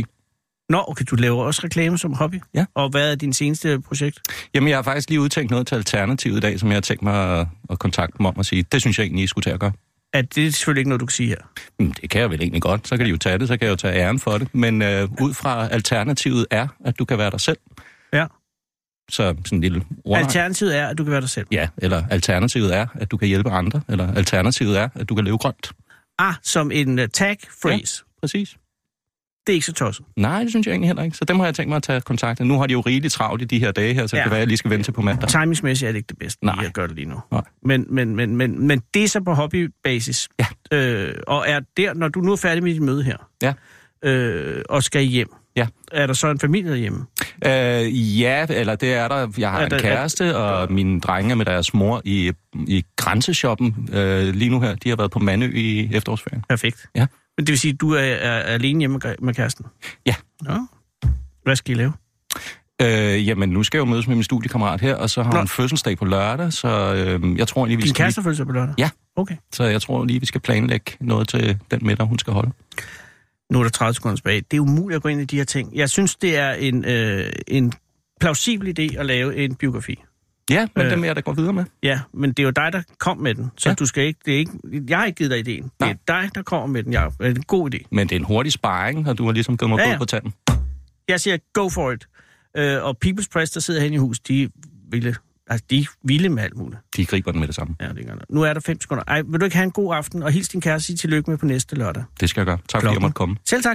[SPEAKER 5] Nå, okay, du laver også reklamer som hobby.
[SPEAKER 7] Ja.
[SPEAKER 5] Og hvad er din seneste projekt?
[SPEAKER 7] Jamen, jeg har faktisk lige udtænkt noget til Alternativet i dag, som jeg har tænkt mig at, at kontakte dem om og sige, det synes jeg egentlig, I skulle tage at gøre.
[SPEAKER 5] At det er selvfølgelig ikke noget, du kan sige her.
[SPEAKER 7] Mm, det kan jeg vel egentlig godt. Så kan de jo tage det, så kan jeg jo tage æren for det. Men øh, ud fra Alternativet er, at du kan være dig selv.
[SPEAKER 5] Ja.
[SPEAKER 7] Så sådan en lille
[SPEAKER 5] Wow.
[SPEAKER 7] ordnej.
[SPEAKER 5] Alternativet er, at du kan være dig selv.
[SPEAKER 7] Ja, eller alternativet er, at du kan hjælpe andre, eller alternativet er, at du kan leve grønt.
[SPEAKER 5] Ah, som en uh, tag phrase. Ja.
[SPEAKER 7] Præcis.
[SPEAKER 5] Det er ikke så tosset.
[SPEAKER 7] Nej, det synes jeg egentlig heller ikke. Så dem har jeg tænkt mig at tage kontakt med. Nu har de jo rigeligt travlt i de her dage her, så
[SPEAKER 5] Ja.
[SPEAKER 7] ja. det kan være, at jeg lige skal vente til på mandag.
[SPEAKER 5] Timingsmæssigt er det ikke det bedste,
[SPEAKER 7] Nej.
[SPEAKER 5] lige at gøre det lige nu.
[SPEAKER 7] Nej.
[SPEAKER 5] Men, men, men, men, men det er så på hobbybasis.
[SPEAKER 7] Ja.
[SPEAKER 5] Øh, og er der, når du nu er færdig med dit møde her,
[SPEAKER 7] Ja.
[SPEAKER 5] øh, og skal hjem,
[SPEAKER 7] Ja.
[SPEAKER 5] er der så en familie hjemme?
[SPEAKER 7] Øh, ja, eller det er der. Jeg har
[SPEAKER 5] Er
[SPEAKER 7] en
[SPEAKER 5] der- er-
[SPEAKER 7] kæreste, og mine drenge er med deres mor i, i grænseshoppen øh, lige nu her. De har været på Mandø i efterårsferien.
[SPEAKER 5] Perfekt.
[SPEAKER 7] Ja.
[SPEAKER 5] Men det vil sige, at du er, er, er alene hjemme med- med kæresten?
[SPEAKER 7] Ja.
[SPEAKER 5] Nå. Hvad skal I lave?
[SPEAKER 7] Øh, jamen, nu skal jeg jo mødes med min studiekammerat her, og så har
[SPEAKER 5] Nå.
[SPEAKER 7] hun fødselsdag på lørdag, så øh, jeg tror lige, vi
[SPEAKER 5] Din
[SPEAKER 7] skal...
[SPEAKER 5] kæreste følger sig på lørdag?
[SPEAKER 7] Ja.
[SPEAKER 5] Okay.
[SPEAKER 7] Lige, så jeg tror lige, vi skal planlægge noget til den middag, hun skal holde.
[SPEAKER 5] Nu er der 30 sekunder tilbage. Det er umuligt at gå ind i de her ting. Jeg synes, det er en, øh, en plausibel idé at lave en biografi.
[SPEAKER 7] Ja, men
[SPEAKER 5] Øh.
[SPEAKER 7] øh. dem vil jeg da gå videre med.
[SPEAKER 5] Ja, men det er jo dig, der kom med den, så ja.
[SPEAKER 7] Ja.
[SPEAKER 5] du skal ikke, det er ikke... Jeg har ikke givet dig ideen.
[SPEAKER 7] Nej.
[SPEAKER 5] Det er dig, der kommer med den, Jacob. Er det en god idé?
[SPEAKER 7] Men det er en hurtig sparring, og du har ligesom givet mig
[SPEAKER 5] Ja,
[SPEAKER 7] ja,
[SPEAKER 5] ja.
[SPEAKER 7] ja. på tanden.
[SPEAKER 5] Jeg siger, go for it. Øh, og People's Press, der sidder hen i hus, de ville, altså, de er vilde med alt muligt.
[SPEAKER 7] De griber den med det samme.
[SPEAKER 5] Ja, det gør noget. Nu er der fem sekunder. Ej, vil du ikke have en god aften, og hils din kæreste og sige tillykke med på næste lørdag.
[SPEAKER 7] Det skal jeg gøre. Tak fordi jeg
[SPEAKER 5] Klokken.
[SPEAKER 7] måtte komme.
[SPEAKER 5] Selv tak.